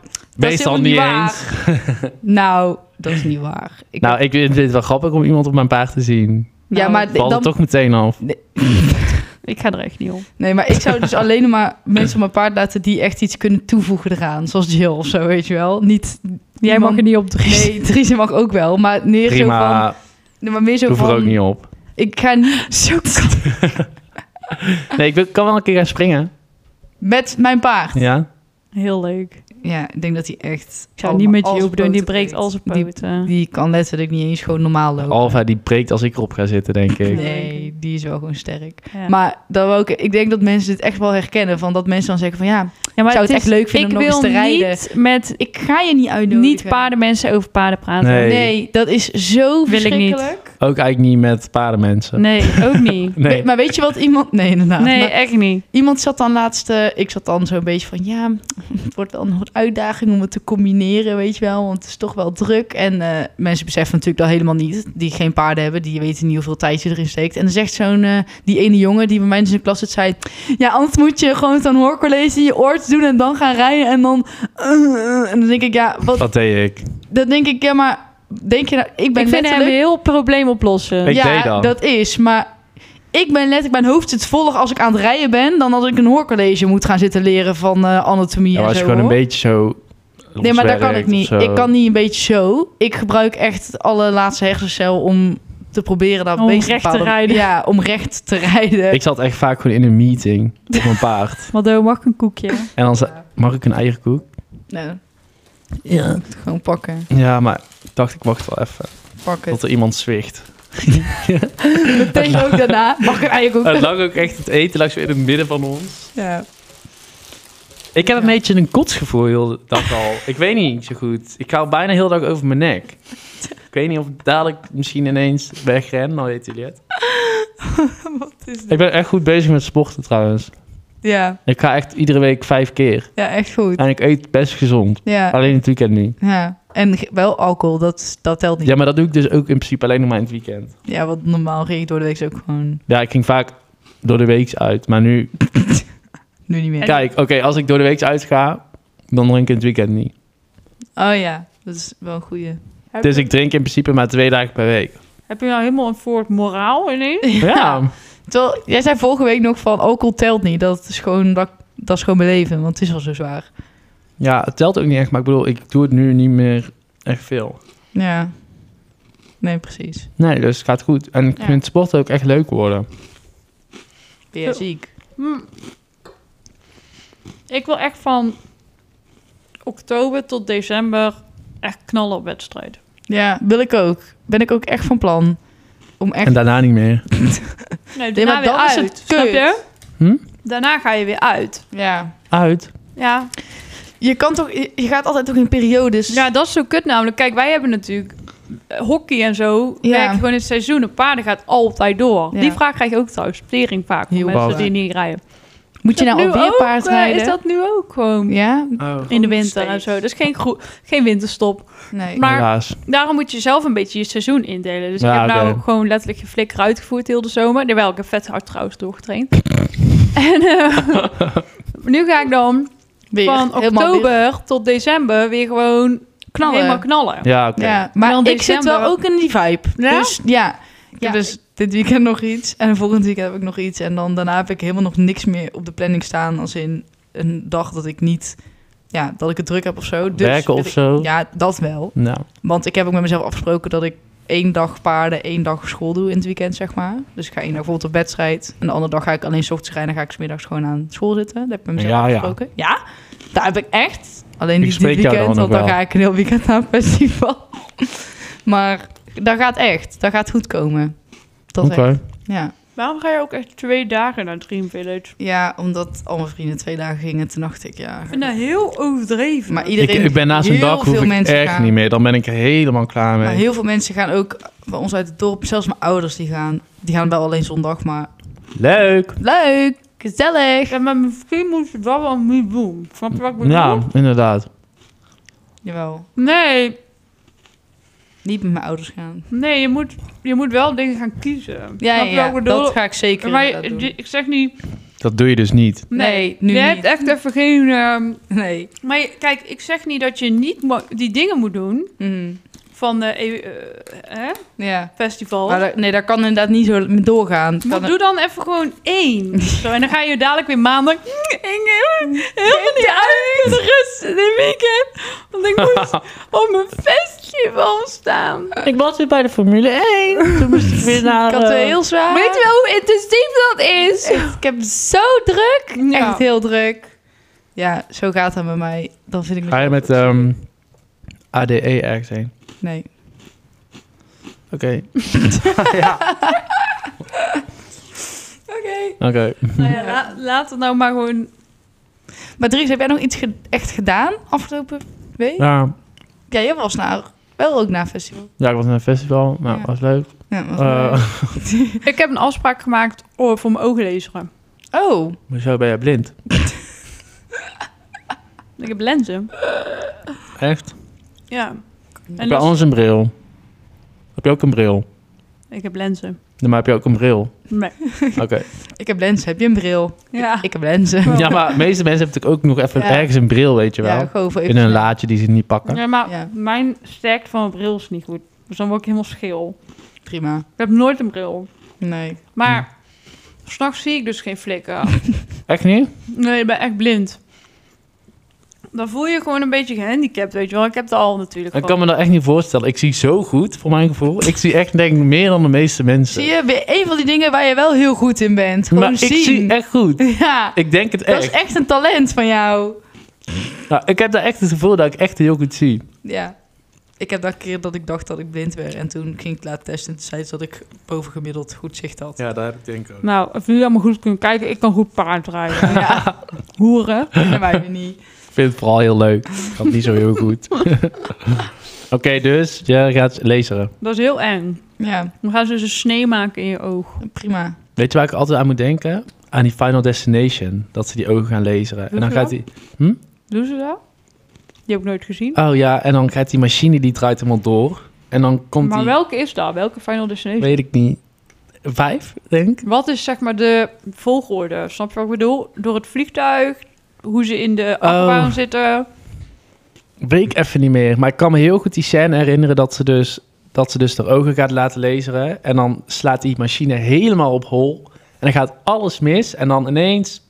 S1: is
S2: Meestal
S1: helemaal
S2: niet
S1: waar.
S2: eens.
S1: Nou, dat is niet waar. Ik
S2: Nou, ik vind het wel grappig om iemand op mijn paard te zien.
S1: ja,
S3: Nou,
S1: maar
S2: Valt
S1: dan,
S2: het toch meteen af.
S3: Ik ga er echt niet om.
S1: Nee, maar ik zou dus alleen maar mensen op mijn paard laten die echt iets kunnen toevoegen eraan. Zoals Jill of zo, weet je wel. Niet,
S3: Jij mag
S1: iemand-
S3: er niet op drie.
S1: Nee, Dries mag ook wel, maar meer zo van...
S2: Prima,
S1: Nee, maar meer zo
S2: hoef er ook
S1: van...
S2: niet op.
S1: Ik ga niet zo
S2: Nee, ik wil- kan wel een keer gaan springen.
S1: met mijn paard. Ja.
S2: Ja?
S3: Heel leuk.
S1: ik denk dat hij echt...
S3: Ik zou niet met
S1: allemaal
S3: je
S1: al
S3: op doen. Die
S1: zijn Oh, poten
S3: breekt al zijn
S1: Die,
S3: poten.
S1: die kan letterlijk niet eens gewoon normaal lopen.
S2: Alfa die breekt als ik erop ga zitten, denk ik.
S1: Nee, die is wel gewoon sterk.
S3: Ja.
S1: Maar dan ook, ik denk dat mensen dit echt wel herkennen. Van dat mensen dan zeggen van ja,
S3: Ja, maar
S1: zou het
S3: is-
S1: echt leuk vinden
S3: ik
S1: om nog eens
S3: wil
S1: te rijden.
S3: niet met
S1: ik ga je niet uitnodigen.
S3: niet paardenmensen over paarden praten.
S2: Nee.
S1: Nee, dat is zo
S3: Wil ik niet.
S1: verschrikkelijk.
S2: Ook eigenlijk niet met paardenmensen.
S3: Nee, ook niet.
S2: Nee.
S1: We- maar weet je wat iemand... Nee, inderdaad.
S3: Nee,
S1: Maar
S3: echt niet.
S1: iemand zat dan laatst... eh, ik zat dan zo'n beetje van... Ja, het wordt wel een wat uitdaging om het te combineren, weet je wel. Want het is toch wel druk. En eh, mensen beseffen natuurlijk dat helemaal niet. Die geen paarden hebben. Die weten niet hoeveel tijd je erin steekt. En dan zegt zo'n... eh, die ene jongen die bij mij in zijn klas zit, zei... Ja, anders moet je gewoon zo'n hoorcollege in je oortjes doen... en dan gaan rijden en dan... eh, eh." en dan denk ik, ja, wat...
S2: Dat deed ik.
S1: Dan denk ik, ja, maar... Denk je nou... Ik ben
S3: Ik vind hem
S1: letterlijk...
S3: heel probleem oplossen.
S2: Ik-
S1: ja,
S2: deed dat.
S1: is. Maar ik ben letterlijk, mijn hoofd zit voller als ik aan het rijden ben, dan als ik een hoorcollege moet gaan zitten leren van eh, anatomie.
S2: Ja,
S1: en
S2: was
S1: zo,
S2: gewoon een
S1: hoor.
S2: beetje zo...
S1: Nee, maar dat kan ik
S2: loswerkt
S1: niet.
S2: of zo.
S1: Ik kan niet een beetje zo. Ik gebruik echt alle laatste hersencel om te proberen dat
S3: Om
S1: beest
S3: recht te
S1: bepaalde-
S3: rijden.
S1: Ja, om recht te rijden.
S2: Ik zat echt vaak gewoon in een meeting op mijn paard.
S3: Want dan mag ik een koekje.
S2: En dan zei, mag ik een eierkoek?
S1: Nee,
S2: Ja.
S1: gewoon pakken.
S2: Ja, maar ik dacht, ik wacht wel even.
S1: Pakken.
S2: Tot er iemand zwicht.
S1: Meteen ook daarna. Mag ik eigenlijk ook.
S2: Het lag ook echt, het eten lag zo in het midden van ons.
S1: Ja.
S2: Ik heb een
S1: Ja.
S2: beetje een kotsgevoel heel de dag al. Ik weet niet zo goed. Ik hou bijna heel de dag over mijn nek. Ik weet niet of ik dadelijk misschien ineens wegren, dan weet jullie het.
S1: Wat is dit?
S2: Ik ben echt goed bezig met sporten trouwens.
S1: Ja,
S2: Ik ga echt iedere week vijf keer.
S1: ja, echt goed.
S2: En ik eet best gezond.
S1: Ja,
S2: Alleen het weekend niet.
S1: ja. En ge- wel alcohol, dat, dat telt niet.
S2: Ja, maar dat doe ik dus ook in principe alleen nog maar in het weekend.
S1: Ja, want normaal ging ik door de week ook gewoon
S2: Ja, ik ging vaak door de week uit. Maar nu,
S1: nu niet meer.
S2: kijk, oké, als ik door de week uit ga, dan drink ik in het weekend niet.
S1: Oh ja, dat is wel een goeie.
S3: Heb,
S2: Dus
S3: je-
S2: ik drink in principe maar twee dagen per week.
S3: heb je nou helemaal een voor het moraal ineens?
S2: Ja,
S1: Terwijl, jij zei vorige week nog van alcohol telt niet. Dat is gewoon, dat, dat is gewoon mijn leven, want het is al zo zwaar.
S2: ja het telt ook niet echt. Maar ik bedoel, ik doe het nu niet meer echt veel.
S1: Ja. Nee, precies.
S2: Nee, dus het gaat goed. En ik
S1: Ja.
S2: vind sport ook echt leuk worden.
S1: Ben jij ziek?
S3: Hm. Ik wil echt van oktober tot december echt knallen op wedstrijd.
S1: Ja, wil ik ook. Ben ik ook echt van plan. Om echt...
S2: En daarna niet meer.
S3: Nee,
S1: Nee,
S3: daarna
S1: maar
S3: weer
S1: dan is
S3: uit.
S1: het
S3: snap
S1: kut.
S3: je?
S2: Hm?
S3: Daarna ga je weer uit.
S1: Ja.
S2: Uit.
S3: Ja.
S1: Je kan toch... Je je gaat altijd toch in periodes...
S3: ja, dat is zo kut namelijk. Kijk, wij hebben natuurlijk eh, hockey en zo.
S1: Ja.
S3: Werken gewoon in het seizoen. Een paarden gaat altijd door.
S1: Ja.
S3: Die vraag krijg je ook trouwens. Tering vaak. Van
S1: Heel
S3: mensen
S2: vaak.
S3: die niet rijden.
S1: Moet je nou
S3: nu
S1: alweer
S3: ook,
S1: paard
S3: eh,
S1: rijden?
S3: Is dat nu ook gewoon?
S1: Ja?
S2: Oh.
S3: In de
S1: Nog
S3: winter en
S1: steeds.
S3: zo. Dus geen, gro- geen winterstop.
S1: Nee.
S3: Maar-
S2: Helaas.
S3: Daarom moet je zelf een beetje je seizoen indelen. Dus ik
S2: Ja,
S3: heb nou
S2: oké.
S3: gewoon letterlijk je flikker uitgevoerd heel de zomer. Terwijl ik heb vet hard trouwens doorgetraind. en eh, nu ga ik dan
S1: Weer. Helemaal
S3: van
S1: weer
S3: oktober tot december weer gewoon
S1: knallen.
S3: helemaal knallen.
S2: Ja, oké.
S1: Ja,
S3: En
S1: maar ik
S3: dan
S1: zit
S3: december-
S1: wel ook in die vibe.
S3: Ja?
S1: Dus ja, ik
S3: Ja,
S1: heb dus dit weekend nog iets en volgend weekend heb ik nog iets. En dan daarna heb ik helemaal nog niks meer op de planning staan als in een dag dat ik niet, ja, dat ik het druk heb of zo. Dus
S2: Werken
S1: wil
S2: of
S1: ik-
S2: zo.
S1: Ja, dat wel.
S2: Nou,
S1: Want ik heb ook met mezelf afgesproken dat ik één dag paarden, één dag school doe in het weekend, zeg maar. Dus ik ga één dag bijvoorbeeld op wedstrijd. En de andere dag ga ik alleen 's ochtends rijden en ga ik 's middags gewoon aan school zitten. Dat heb ik met mezelf
S2: Ja, ja.
S1: afgesproken. Ja. daar heb ik echt. Alleen
S2: Ik
S1: niet dit
S2: spreek jou
S1: weekend,
S2: dan
S1: want
S2: ook
S1: dan
S2: wel.
S1: ga ik een heel weekend naar een festival. maar dat gaat echt. Dat gaat goed komen. Dat
S2: oké.
S1: echt. Ja.
S3: Waarom ga je ook echt twee dagen naar Dream Village?
S1: ja, omdat al mijn vrienden twee dagen gingen, toen dacht ik, ja...
S3: Ik vind dat heel overdreven.
S1: Maar
S2: Ik,
S1: iedereen,
S2: ik ben na zo'n
S1: heel
S2: dag hoef
S1: veel
S2: ik echt
S1: mensen gaan.
S2: niet meer. Dan ben ik er helemaal klaar mee.
S1: Maar heel veel mensen gaan ook bij ons uit het dorp, zelfs mijn ouders die gaan, die gaan wel alleen zondag, maar
S2: Leuk.
S1: leuk, gezellig.
S3: Ja, maar misschien moet je dat wel niet doen. Snap je wat ik bedoel?
S2: Ja, inderdaad.
S1: Jawel,
S3: Nee,
S1: niet met mijn ouders gaan.
S3: nee je, moet, je moet wel dingen gaan kiezen.
S1: Ja, ja,
S3: Snap je wat ik
S1: ja,
S3: bedoel?
S1: dat ga ik zeker
S3: Maar
S1: inderdaad
S3: je,
S1: doen.
S3: je- ik zeg niet...
S2: Dat doe je dus niet.
S1: Nee, nu
S3: je
S1: niet.
S3: hebt echt even geen... ehm,
S1: Nee.
S3: maar je- kijk, ik zeg niet dat je niet mo- die dingen moet doen
S1: Mhm.
S3: van de eh, eh,
S1: Ja.
S3: festival.
S1: Maar dat- nee, daar kan inderdaad niet zo mee doorgaan.
S3: Maar
S1: Kan
S3: doe dan even gewoon één. Zo, en dan ga je dadelijk weer maandag... Ik heb helemaal niet uit kunnen rusten dit weekend. Want ik moest op mijn festival staan.
S2: Ik was weer bij de Formule 1. Toen moest ik weer naar... eh,
S1: ik had het heel zwaar.
S3: Weet je wel hoe intensief dat is?
S1: Echt, ik heb het zo druk.
S3: Ja.
S1: Echt heel druk. Ja, zo gaat dat bij mij. Dan vind ik
S2: Ga je met ehm, ADE ergens heen?
S1: Nee.
S2: Oké. ja.
S3: Oké.
S2: Oké.
S3: Nou ja, la- laat het nou maar gewoon...
S1: Maar Dries, heb jij nog iets ge- echt gedaan afgelopen week?
S2: Ja.
S1: Ja, jij was naar, wel ook naar een festival.
S2: ja, ik was naar een festival. Nou,
S1: Ja.
S2: was leuk.
S1: Ja, was
S2: Eh,
S1: leuk.
S3: Ik heb een afspraak gemaakt oh, voor mijn ooglezeren.
S1: oh,
S2: Maar zo ben jij blind.
S3: Ik heb lenzen.
S2: Echt?
S3: Ja.
S2: Heb
S3: En
S2: je
S3: dat-
S2: anders een bril? Heb je ook een bril?
S3: Ik heb lenzen.
S2: Nee, maar heb je ook een bril?
S3: Nee.
S2: Oké.
S1: ik heb lenzen. Heb je een bril?
S3: Ja.
S1: Ik heb lenzen.
S2: Ja, maar de meeste mensen hebben natuurlijk ook nog even
S1: Ja.
S2: ergens een bril, weet je wel.
S1: Ja, gewoon voor
S2: In een laadje die ze niet pakken.
S3: Ja, maar
S1: Ja.
S3: mijn sterkte van mijn bril is niet goed. Dus dan word ik helemaal scheel.
S1: Prima.
S3: Ik heb nooit een bril.
S1: Nee.
S3: Maar s'nachts zie ik dus geen flikken.
S2: Echt niet?
S3: nee, ik ben echt blind. Dan voel je je gewoon een beetje gehandicapt, weet je wel. Ik heb het al natuurlijk
S2: Ik
S3: gewoon.
S2: kan me dat echt niet voorstellen. Ik zie zo goed, voor mijn gevoel. Ik zie echt, denk ik, meer dan de meeste mensen.
S1: Zie je, weer een van die dingen waar je wel heel goed in bent. Gewoon
S2: maar ik
S1: zien.
S2: zie echt goed.
S1: Ja,
S2: Ik denk het
S1: dat is
S2: echt.
S1: echt een talent van jou.
S2: Nou, ik heb daar echt het gevoel dat ik echt heel goed zie.
S1: Ja. Ik heb dat keer dat ik dacht dat ik blind werd. En toen ging ik laten testen. En toen zei ze dat ik bovengemiddeld goed zicht had.
S2: Ja, daar heb ik denk ik ook.
S3: Nou, of jullie allemaal goed kunnen kijken, ik kan goed paard rijden.
S1: Ja,
S3: Hoeren.
S1: en wij weer niet.
S2: Ik vind het vooral heel leuk. Ik had niet zo heel goed. Oké, dus jij gaat laseren.
S3: Dat is heel eng.
S1: Ja,
S3: Dan gaan ze dus een snee maken in je oog.
S1: prima.
S2: Weet je waar ik altijd aan moet denken? Aan die Final Destination. Dat ze die ogen gaan laseren. En dan
S3: Hoezo?
S2: gaat die...
S3: Doen ze dat? Die heb ik nooit gezien.
S2: Oh ja, en dan gaat die machine die draait helemaal door. En dan komt
S3: maar
S2: die...
S3: welke is dat? Welke Final Destination?
S2: Weet ik niet. Vijf, denk ik.
S3: Wat is zeg maar de volgorde? Snap je wat ik bedoel? Door het vliegtuig, hoe ze in de achtbaan zitten.
S2: Weet ik even niet meer. Maar ik kan me heel goed die scène herinneren dat ze dus, dat ze dus haar ogen gaat laten laseren. En dan slaat die machine helemaal op hol. En dan gaat alles mis. En dan ineens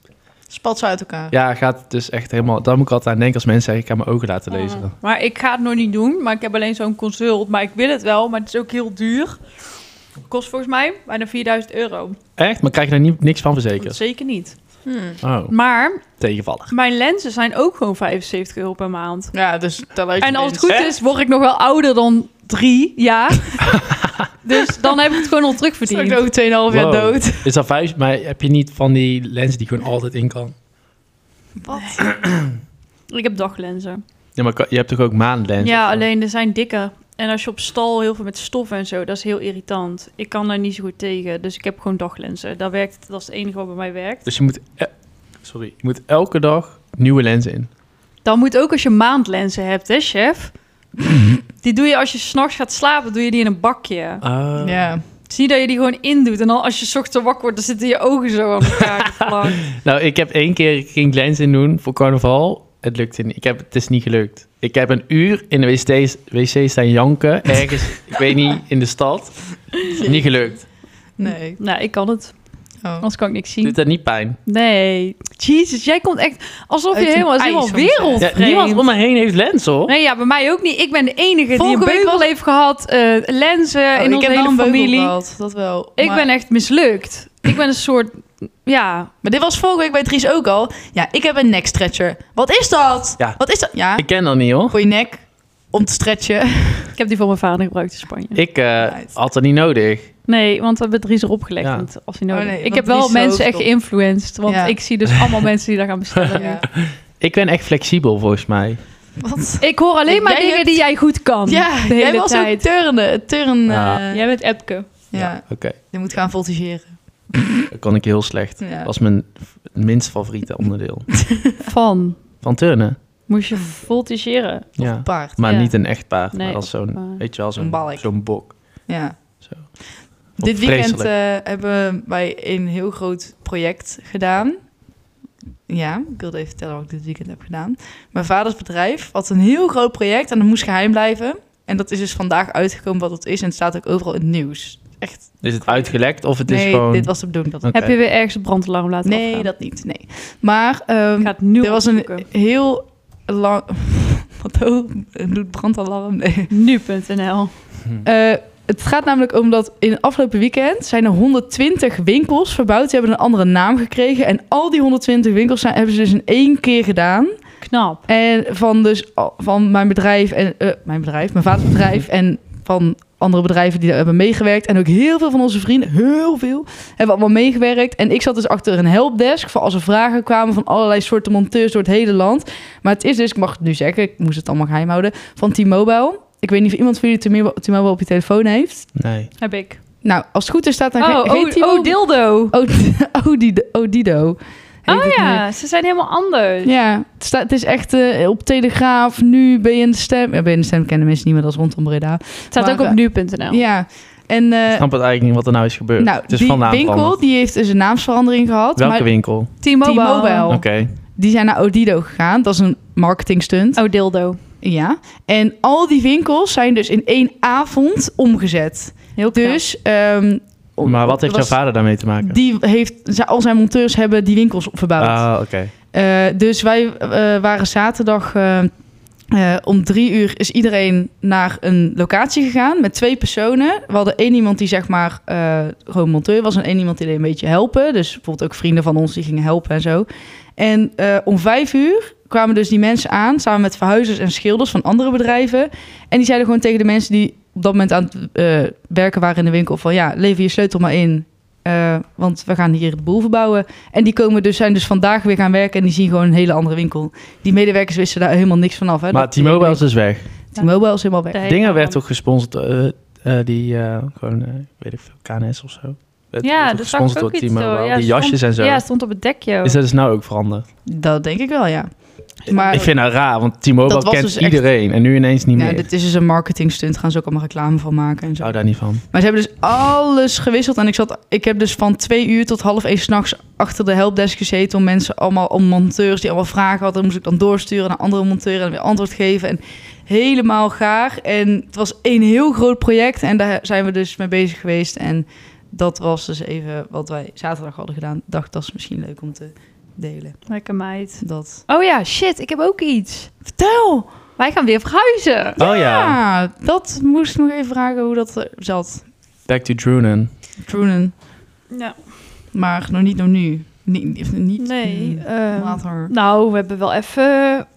S1: Spat ze uit elkaar.
S2: ja, gaat het dus echt helemaal... Daar moet ik altijd aan denken als mensen zeggen, ik ga mijn ogen laten laseren.
S3: Maar ik ga het nog niet doen. Maar ik heb alleen zo'n consult. Maar ik wil het wel. Maar het is ook heel duur. Kost volgens mij bijna 4000 euro.
S2: Echt? Maar krijg je daar niet, niks van
S3: Dat
S2: verzekerd?
S3: zeker niet.
S1: Hmm.
S2: Oh,
S3: Maar
S2: tegenvallig.
S3: mijn lenzen zijn ook gewoon 75 euro per maand.
S1: Ja, dus tel uit je
S3: En als het
S1: winst.
S3: goed is, word ik nog wel ouder dan drie jaar. dus dan heb ik het gewoon al
S1: Straks
S3: terugverdiend.
S1: ook 2,5 jaar
S2: Wow.
S1: dood.
S2: Is dat vijf? Maar heb je niet van die lens die gewoon altijd in kan?
S1: Wat?
S3: Ik heb daglenzen.
S2: Ja, maar kan- je hebt toch ook maandlens?
S3: Ja,
S2: of zo?
S3: alleen er zijn dikke. En als je op stal heel veel met stof en zo, dat is heel irritant. Ik kan daar niet zo goed tegen. Dus ik heb gewoon daglenzen. Dat, werkt, dat is het enige wat bij mij werkt.
S2: Dus je moet... e- Sorry. Je moet elke dag nieuwe lenzen in.
S3: Dan moet ook als je maandlenzen hebt, hè, chef? Die doe je als je s'nachts gaat slapen, doe je die in een bakje.
S2: Ah.
S1: Ja.
S3: Zie dat je die gewoon indoet. En dan als je 's ochtends wakker wordt, dan zitten je ogen zo aan elkaar geplakt.
S2: Nou, ik heb één keer ik ging lens in doen voor carnaval. Het lukte niet. Ik heb, het is niet gelukt. Ik heb een uur in de wc, wc staan janken. Ergens, ik weet niet, in de stad. Niet gelukt.
S1: Nee.
S3: nou, ik kan het.
S1: Oh.
S3: Anders kan ik niks zien.
S2: Doet dat niet pijn?
S3: Nee. Jezus, jij komt echt alsof je
S1: Uit een
S3: helemaal, is
S1: ijs
S3: helemaal
S1: om te zeggen.
S3: wereld.
S2: Ja, niemand om me heen heeft lens, hoor.
S3: Nee, ja, bij mij ook niet. Ik ben de enige die
S1: Vorige
S3: een
S1: week
S3: beugel
S1: was-
S3: heeft gehad, eh, lenzen
S1: Oh,
S3: in onze hele familie.
S1: gehad, dat wel.
S3: Ik
S1: maar,
S3: ben echt mislukt. Ik ben een soort, ja,
S1: maar dit was vorige week bij Dries ook al. Ja, ik heb een nek stretcher. Wat is dat?
S2: Ja.
S1: Wat is dat? Ja,
S2: Ik ken dat niet, hoor.
S1: voor je nek om te stretchen.
S3: ik heb die voor mijn vader gebruikt in Spanje.
S2: Ik eh,
S1: Nice.
S2: had dat niet nodig.
S3: Nee, want we hebben Dries erop gelegd
S2: Ja.
S3: want als hij nodig.
S1: Oh, nee,
S3: ik
S1: want
S3: heb wel
S1: Dries is zo
S3: mensen echt
S1: hoofdop.
S3: geïnfluenced, want
S1: Ja.
S3: ik zie dus allemaal mensen die daar gaan bestellen.
S1: Ja.
S2: Ik ben echt flexibel, volgens mij.
S1: Wat?
S3: Ik hoor alleen maar
S1: Jij
S3: dingen
S1: hebt-
S3: die jij goed kan.
S1: Ja,
S3: de
S1: jij
S3: hele
S1: was
S3: tijd.
S1: ook turnen. Turn,
S2: Ja.
S1: eh, ja.
S3: Jij bent Epke.
S2: Oké,
S1: je moet gaan voltigeren.
S2: dat kon ik heel slecht.
S1: Ja.
S2: Dat was mijn f- minst favoriete onderdeel.
S3: Van
S2: Van turnen,
S3: moest je voltigeren.
S2: ja.
S1: Paard.
S2: Maar
S3: Ja.
S2: niet een echt paard,
S3: Nee,
S2: maar als zo'n,
S3: maar-
S2: weet je wel,
S1: Een
S2: zo'n,
S1: balk.
S2: zo'n bok.
S1: Ja.
S2: Zo.
S1: Dit
S2: Vreselijk.
S1: weekend eh, hebben wij een heel groot project gedaan. Ja, ik wilde even vertellen wat ik dit weekend heb gedaan. Mijn vaders bedrijf had een heel groot project en dat moest geheim blijven. En dat is dus vandaag uitgekomen wat het is en het staat ook overal in het nieuws. Echt,
S2: Is het uitgelekt of het is
S1: nee,
S2: gewoon...
S1: dit was de bedoeling. Dat...
S2: Oké.
S3: Heb je weer ergens een brandalarm laten
S1: Nee,
S3: afgaan?
S1: dat niet, nee. Maar ehm,
S3: Ik ga het nu
S1: er was een
S3: opzoeken.
S1: heel lang... wat oh, doet brandalarm? Nee.
S3: Nu.nl.
S1: Eh, het gaat namelijk om dat in het afgelopen weekend zijn er 120 winkels verbouwd. Die hebben een andere naam gekregen. En al die 120 winkels zijn, hebben ze dus in één keer gedaan.
S3: Knap.
S1: En van, dus, al- van mijn bedrijf en eh, mijn bedrijf, mijn vaders bedrijf en van andere bedrijven die daar hebben meegewerkt. En ook heel veel van onze vrienden, heel veel, hebben allemaal meegewerkt. En ik zat dus achter een helpdesk voor als er vragen kwamen van allerlei soorten monteurs door het hele land. Maar het is dus, ik mag het nu zeggen, ik moest het allemaal geheim houden, van T-Mobile. Ik weet niet of iemand van jullie T-Mobile T-Mobile op je telefoon heeft.
S2: Nee.
S3: Heb ik.
S1: Nou, als het goed is staat daar
S3: Oh,
S1: geen, geen
S3: oh,
S1: T-Mobile.
S3: oh, dildo.
S1: Oh, oh, Dido- oh, Dido. heet
S3: Oh
S1: het nu.
S3: ja, ze zijn helemaal anders.
S1: Ja, het, staat, het is echt eh, op Telegraaf, nu ben je in de stem. Ja, ben je in de stem kennen mensen niet meer, dat is rondom Breda.
S3: Het staat
S1: Maar,
S3: ook op
S1: eh,
S3: nu.nl.
S1: Ja, en
S2: Ik
S1: eh,
S2: snap het eigenlijk niet wat er nou is gebeurd.
S1: nou,
S2: het is
S1: die
S2: van naam
S1: winkel
S2: veranderd.
S1: die heeft dus een naamsverandering gehad.
S2: Welke
S1: maar
S2: winkel?
S3: T-Mobile.
S1: T-Mobile.
S2: Oké.
S1: Oh. die zijn naar Odido gegaan, dat is een marketingstunt.
S3: Oh, dildo.
S1: Ja, en al die winkels zijn dus in één avond omgezet.
S3: Heel knap.
S1: Dus... ehm, om-
S2: Maar wat heeft
S1: was-
S2: jouw vader daarmee te maken?
S1: Die heeft, zijn- al zijn monteurs hebben die winkels verbouwd.
S2: Ah, oké.
S1: Eh, dus wij eh, waren zaterdag eh, eh, om drie uur is iedereen naar een locatie gegaan met twee personen. We hadden één iemand die zeg maar eh, gewoon monteur was en één iemand die deed een beetje helpen. Dus bijvoorbeeld ook vrienden van ons die gingen helpen en zo. En eh, om vijf uur kwamen dus die mensen aan, samen met verhuizers en schilders van andere bedrijven. En die zeiden gewoon tegen de mensen die op dat moment aan het eh, werken waren in de winkel: van ja, lever je sleutel maar in. eh, want we gaan hier de boel verbouwen. En die komen dus, zijn dus vandaag weer gaan werken en die zien gewoon een hele andere winkel. Die medewerkers wisten daar helemaal niks vanaf. Hè?
S2: Maar
S1: Dat-
S2: T-Mobile is dus weg.
S1: T-Mobile is helemaal weg.
S3: De hele
S2: Dingen werd
S3: avond.
S2: toch gesponsord, eh, eh, die eh, gewoon, eh, weet ik veel, KNS of zo. Werd- werd
S3: Ja,
S2: toch
S3: dat zag ik ook iets
S2: T-Mobile?
S3: door. Ja,
S2: die
S3: stond-
S2: jasjes en zo.
S3: Ja, stond op het dekje. ook.
S2: Is dat dus nou ook veranderd?
S1: Dat denk ik wel, ja. Maar
S2: ik vind dat raar, want
S1: Dat
S2: T-Mobile
S1: was
S2: kent
S1: dus echt-
S2: iedereen en nu ineens niet
S1: nou,
S2: meer.
S1: dit is dus een marketingstunt. Gaan ze ook allemaal reclame van maken en
S2: Ik
S1: zo.
S2: hou daar niet van.
S1: Maar ze hebben dus alles gewisseld. En ik, zat, ik heb dus van twee uur tot half één s'nachts achter de helpdesk gezeten... om mensen allemaal, om monteurs die allemaal vragen hadden... moest ik dan doorsturen naar andere monteurs en weer antwoord geven. En helemaal gaar. En het was één heel groot project. En daar zijn we dus mee bezig geweest. En dat was dus even wat wij zaterdag hadden gedaan. dacht, dat is misschien leuk om te delen.
S3: Lekker meid.
S1: Dat.
S3: Oh ja, shit, ik heb ook iets.
S1: Vertel!
S3: Wij gaan weer verhuizen.
S2: Oh ja,
S1: Ja, dat moest ik nog even vragen hoe dat eh, zat.
S2: back to Drunen.
S1: Troenen,
S3: Ja,
S1: maar nog niet nog nu. Niet, niet
S3: nee.
S1: mm,
S3: ehm,
S1: later.
S3: nou, we hebben wel even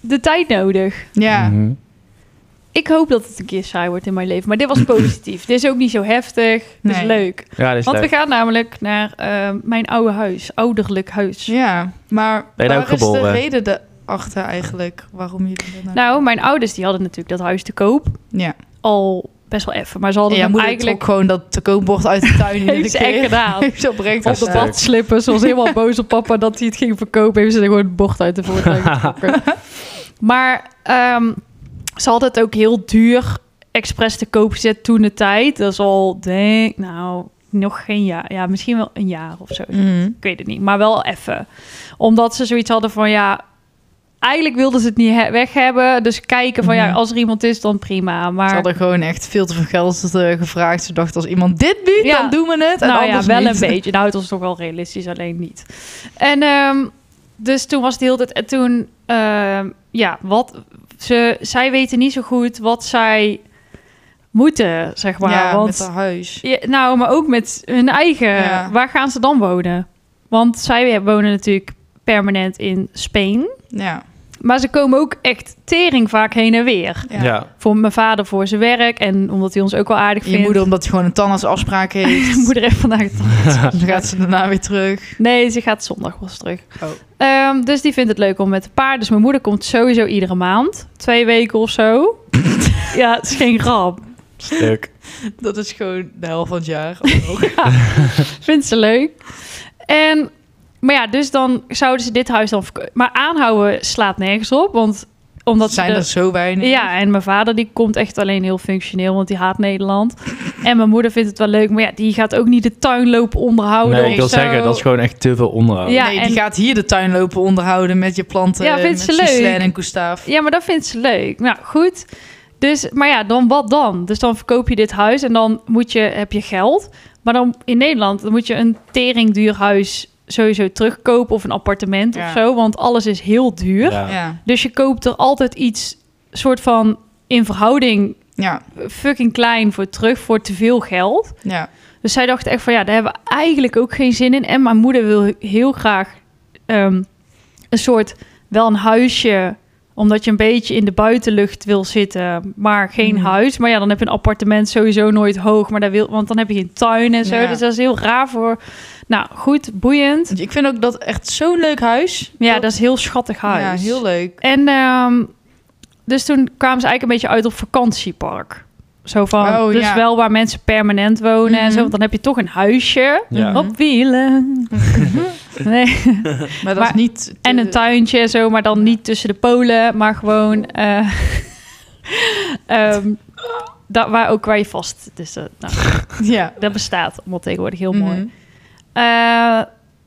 S3: de tijd nodig.
S1: Ja,
S2: Mhm.
S3: Ik hoop dat het een keer saai wordt in mijn leven. Maar dit was positief. dit is ook niet zo heftig. Dit is
S1: Nee.
S3: leuk.
S2: Ja, dat is
S3: Want
S2: leuk.
S3: we gaan namelijk naar ehm, mijn oude huis. Ouderlijk huis.
S1: ja. Maar
S2: Ben je daar
S1: waar
S2: ook
S1: is de
S2: geboren?
S1: reden erachter eigenlijk waarom jullie dat
S3: Nou, mijn ouders die hadden natuurlijk dat huis te koop.
S1: ja.
S3: Al best wel even. Maar ze
S1: En
S3: hadden
S1: jij
S3: hem
S1: moeder
S3: eigenlijk...
S1: trok gewoon dat te koopbord uit de tuin iedere
S3: Heeft ze echt
S1: keer.
S3: gedaan.
S1: Heeft ze oprecht
S3: Op de
S2: Sterk.
S1: gedaan.
S2: bad.
S3: badslippers. Ze was helemaal boos op papa dat hij het ging verkopen. Heeft ze er gewoon het bord uit de voortuin getrokken. maar ehm, ze had het ook heel duur expres te koop gezet toen de tijd. Dat is al, denk nou, nog geen jaar. Ja, misschien wel een jaar of zo.
S1: Mhm.
S3: Ik weet het niet, maar wel even. Omdat ze zoiets hadden van, ja... Eigenlijk wilden ze het niet he- weg hebben. Dus kijken van, ja,
S1: Mhm.
S3: als er iemand is, dan prima. Maar
S1: Ze hadden gewoon echt veel te veel geld eh, gevraagd. Ze dachten, als iemand dit biedt,
S3: Ja.
S1: dan doen we het. En
S3: nou ja,
S1: anders
S3: wel
S1: niet.
S3: een beetje. Nou, het was toch wel realistisch, alleen niet. En ehm, dus toen was het heel tijd. En toen, ehm, ja, wat ze, zij weten niet zo goed wat zij moeten, zeg maar.
S1: Ja,
S3: Want,
S1: met haar huis.
S3: Ja, nou, maar ook met hun eigen.
S1: Ja.
S3: Waar gaan ze dan wonen? Want zij wonen natuurlijk permanent in Spanje.
S1: Ja.
S3: Maar ze komen ook echt tering vaak heen en weer.
S2: Ja.
S3: Voor mijn vader voor zijn werk en omdat hij ons ook wel aardig
S1: Je
S3: vindt.
S1: moeder, omdat hij gewoon een tandartsafspraak heeft.
S3: Mijn moeder heeft vandaag het
S1: Dan gaat ze daarna weer terug.
S3: Nee, ze gaat zondag wel eens terug.
S1: Oh.
S3: Ehm, dus die vindt het leuk om met de paard. Dus mijn moeder komt sowieso iedere maand. Twee weken of zo. ja, het is geen grap.
S2: Stuk.
S1: Dat is gewoon de helft van het jaar.
S3: Ja, vindt ze leuk. En, maar ja, dus dan zouden ze dit huis dan... verko- Maar aanhouden slaat nergens op, want... Omdat
S1: Omdat
S3: ze
S1: zijn
S3: de-
S1: er zo weinig.
S3: Ja, en mijn vader die komt echt alleen heel functioneel, want die haat Nederland. En mijn moeder vindt het wel leuk, maar ja, die gaat ook niet de tuin lopen onderhouden.
S2: nee, ik wil
S3: of Oh, zo.
S2: zeggen, dat is gewoon echt te veel onderhoud.
S3: Ja,
S1: Oh, nee,
S3: en-
S1: die gaat hier de tuin lopen onderhouden met je planten.
S3: Ja, vindt
S1: met
S3: ze leuk.
S1: Ghislaine en Gustav.
S3: Ja, maar dat vindt ze leuk. Nou, goed. Dus, maar ja, dan wat dan? Dus dan verkoop je dit huis en dan moet je, heb je geld. Maar dan in Nederland dan moet je een teringduur huis sowieso terugkopen of een appartement
S1: Ja.
S3: of zo. Want alles is heel duur.
S2: Ja.
S1: Ja. ja.
S3: Dus je koopt er altijd iets soort van in verhouding
S1: ja.
S3: fucking klein voor terug voor te veel geld. Dus zij dacht echt van ja, daar hebben we eigenlijk ook geen zin in. En mijn moeder wil heel graag ehm, een soort wel een huisje omdat je een beetje in de buitenlucht wil zitten, maar geen
S1: Mhm.
S3: huis. Maar ja, dan heb je een appartement sowieso nooit hoog. Maar daar wil, want dan heb je geen tuin en zo.
S1: Ja.
S3: Dus dat is heel raar voor. Nou, goed, boeiend.
S1: Ik vind ook dat echt zo'n leuk huis.
S3: Ja, dat, is een heel schattig huis.
S1: Ja, heel leuk.
S3: En ehm, dus toen kwamen ze eigenlijk een beetje uit op vakantiepark. Zo van,
S1: Oh,
S3: dus
S1: ja.
S3: wel waar mensen permanent wonen en
S1: Mhm.
S3: zo. Want dan heb je toch een huisje.
S2: Ja.
S1: Mhm.
S3: Op wielen. nee.
S1: Maar dat
S3: Maar-
S1: is niet... te-
S3: En een tuintje en zo, maar dan niet tussen de polen, maar gewoon. eh ehm, dat, waar ook waar je vast. Dus dat, nou,
S1: Ja.
S3: dat bestaat allemaal tegenwoordig heel mooi.
S1: Mhm.
S3: Eh,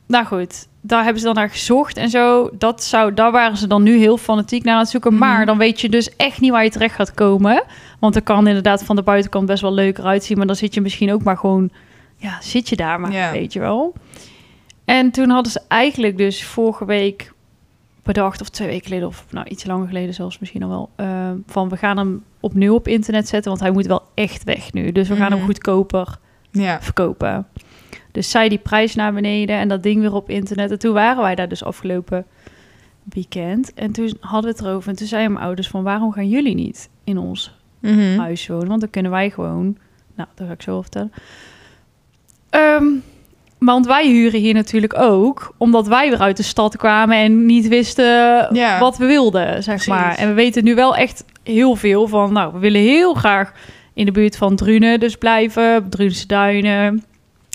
S3: nou goed, daar hebben ze dan naar gezocht en zo. Dat zou, daar waren ze dan nu heel fanatiek naar aan het zoeken.
S1: Mhm.
S3: Maar dan weet je dus echt niet waar je terecht gaat komen. Want er kan inderdaad van de buitenkant best wel leuker uitzien. Maar dan zit je misschien ook maar gewoon... Ja, zit je daar maar,
S1: Ja.
S3: weet je wel. En toen hadden ze eigenlijk dus vorige week bedacht... of twee weken geleden, of nou iets langer geleden zelfs misschien al wel... eh, van we gaan hem opnieuw op internet zetten... want hij moet wel echt weg nu. Dus we gaan hem
S1: Mhm.
S3: goedkoper
S1: Ja.
S3: verkopen. Dus zij die prijs naar beneden en dat ding weer op internet. En toen waren wij daar dus afgelopen weekend. En toen hadden we het erover. En toen zeiden mijn ouders van waarom gaan jullie niet in ons
S1: Mhm.
S3: huis wonen. Want dan kunnen wij gewoon... Nou, dat ga ik zo wel vertellen. Ehm, want wij huren hier natuurlijk ook... omdat wij weer uit de stad kwamen en niet wisten
S1: Ja.
S3: wat we wilden, zeg maar.
S1: Precies.
S3: En we weten nu wel echt heel veel van... nou, we willen heel graag in de buurt van Drunen dus blijven. Drunense Duinen,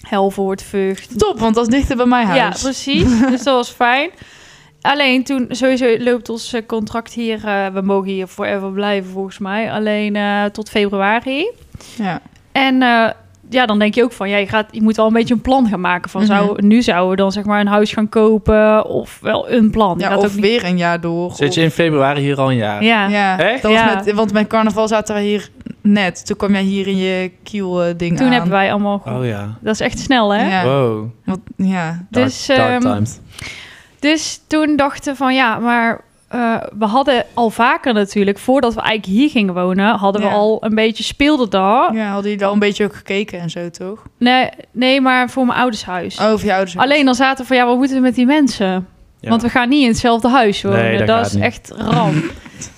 S3: Helvoort, Vught.
S1: Top, want dat is dichter bij mijn
S3: Ja,
S1: huis.
S3: precies. dus dat was fijn. Alleen toen, sowieso loopt ons eh, contract hier. eh, we mogen hier forever blijven, volgens mij. Alleen eh, tot februari.
S1: Ja.
S3: En eh, ja, dan denk je ook van, ja, je, gaat, je moet wel een beetje een plan gaan maken. Van,
S1: Mhm.
S3: zou, nu zouden we dan zeg maar een huis gaan kopen of wel een plan. Je
S1: Ja,
S3: gaat
S1: of
S3: ook niet-
S1: weer een jaar door.
S2: Zit je
S1: of-
S2: in februari hier al een jaar?
S3: Ja.
S1: Ja,
S2: Echt?
S1: dat was
S3: Ja.
S1: Met, want mijn carnaval zaten we hier net. Toen kwam jij hier in je kiel eh, ding
S3: Toen
S1: aan.
S3: hebben wij allemaal...
S2: Oh ja.
S3: Dat is echt snel, hè?
S1: Ja.
S2: Wow.
S1: Want, ja.
S2: Dark,
S3: Dus,
S2: dark
S3: ehm,
S2: times.
S3: Dus toen dachten we van ja, maar eh, we hadden al vaker natuurlijk, voordat we eigenlijk hier gingen wonen, hadden
S1: Ja.
S3: we al een beetje speelde daar.
S1: ja, hadden jullie al een beetje ook gekeken en zo, toch?
S3: Nee, nee, maar voor mijn ouders huis.
S1: Over je Oh, ouders.
S3: Alleen dan zaten we van ja, wat moeten we met die mensen?
S2: Ja.
S3: Want we gaan niet in hetzelfde huis wonen.
S2: Nee, dat
S3: dat
S2: gaat
S3: is
S2: niet.
S3: echt ramp.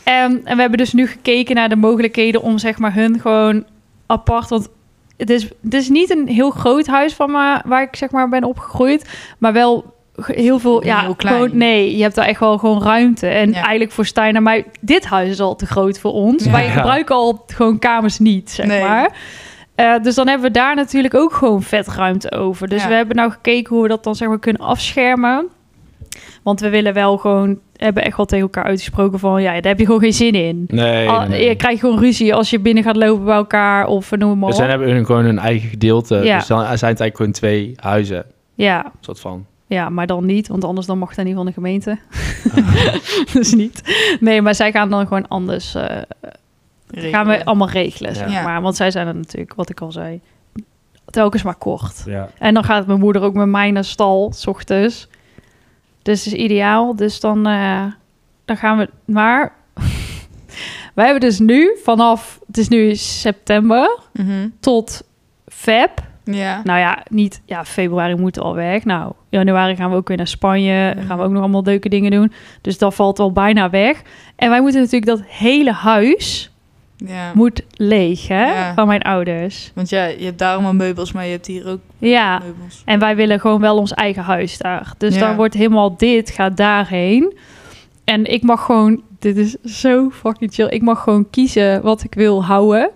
S3: en, en we hebben dus nu gekeken naar de mogelijkheden om zeg maar hun gewoon apart. Want het is, het is niet een heel groot huis van me, waar ik zeg maar ben opgegroeid. Maar wel ge- heel veel. Ja,
S1: Heel klein.
S3: Gewoon, nee, je hebt daar echt wel gewoon ruimte. En
S1: Ja.
S3: eigenlijk voor Stijn en mij, dit huis is al te groot voor ons.
S1: Ja.
S3: Wij
S2: Ja.
S3: gebruiken al gewoon kamers niet, zeg
S1: Nee.
S3: maar. Eh, dus dan hebben we daar natuurlijk ook gewoon vet ruimte over. Dus
S1: Ja.
S3: we hebben nou gekeken hoe we dat dan zeg maar kunnen afschermen. Want we willen wel gewoon, hebben echt wel tegen elkaar uitgesproken van ja, daar heb je gewoon geen zin in.
S2: Nee,
S3: Al-
S2: nee, nee.
S3: Je krijgt gewoon ruzie als je binnen gaat lopen bij elkaar of eh, noem maar
S2: We
S3: op.
S2: zijn, hebben hun gewoon hun eigen gedeelte.
S3: Ja.
S2: Dus dan zijn het eigenlijk gewoon twee huizen.
S3: Ja,
S2: soort van.
S3: ja, maar dan niet, want anders dan mag dat niet van de gemeente. dus niet. Nee, maar zij gaan dan gewoon anders, eh, gaan we allemaal regelen, zeg
S1: Ja.
S3: maar. Want zij zijn er natuurlijk, wat ik al zei, telkens maar kort.
S2: Ja.
S3: En dan gaat mijn moeder ook met mij naar stal, s ochtends. Dus het is ideaal. Dus dan, eh, dan gaan we. Maar wij hebben dus nu vanaf. Het is nu september
S1: Mhm.
S3: tot feb.
S1: Ja.
S3: Nou ja, niet. Ja, februari moet al weg. Nou, januari gaan we ook weer naar Spanje.
S1: Mhm.
S3: Gaan we ook nog allemaal leuke dingen doen. Dus dat valt al bijna weg. En wij moeten natuurlijk dat hele huis
S1: ja.
S3: Nou, moet leeg, hè?
S1: Ja.
S3: Van mijn ouders.
S1: Want ja, je hebt daar allemaal meubels, maar je hebt hier ook
S3: Ja.
S1: meubels.
S3: En wij willen gewoon wel ons eigen huis daar. Dus
S1: Ja.
S3: dan wordt helemaal dit, gaat daarheen. En ik mag gewoon, dit is zo fucking chill. Ik mag gewoon kiezen wat ik wil houden.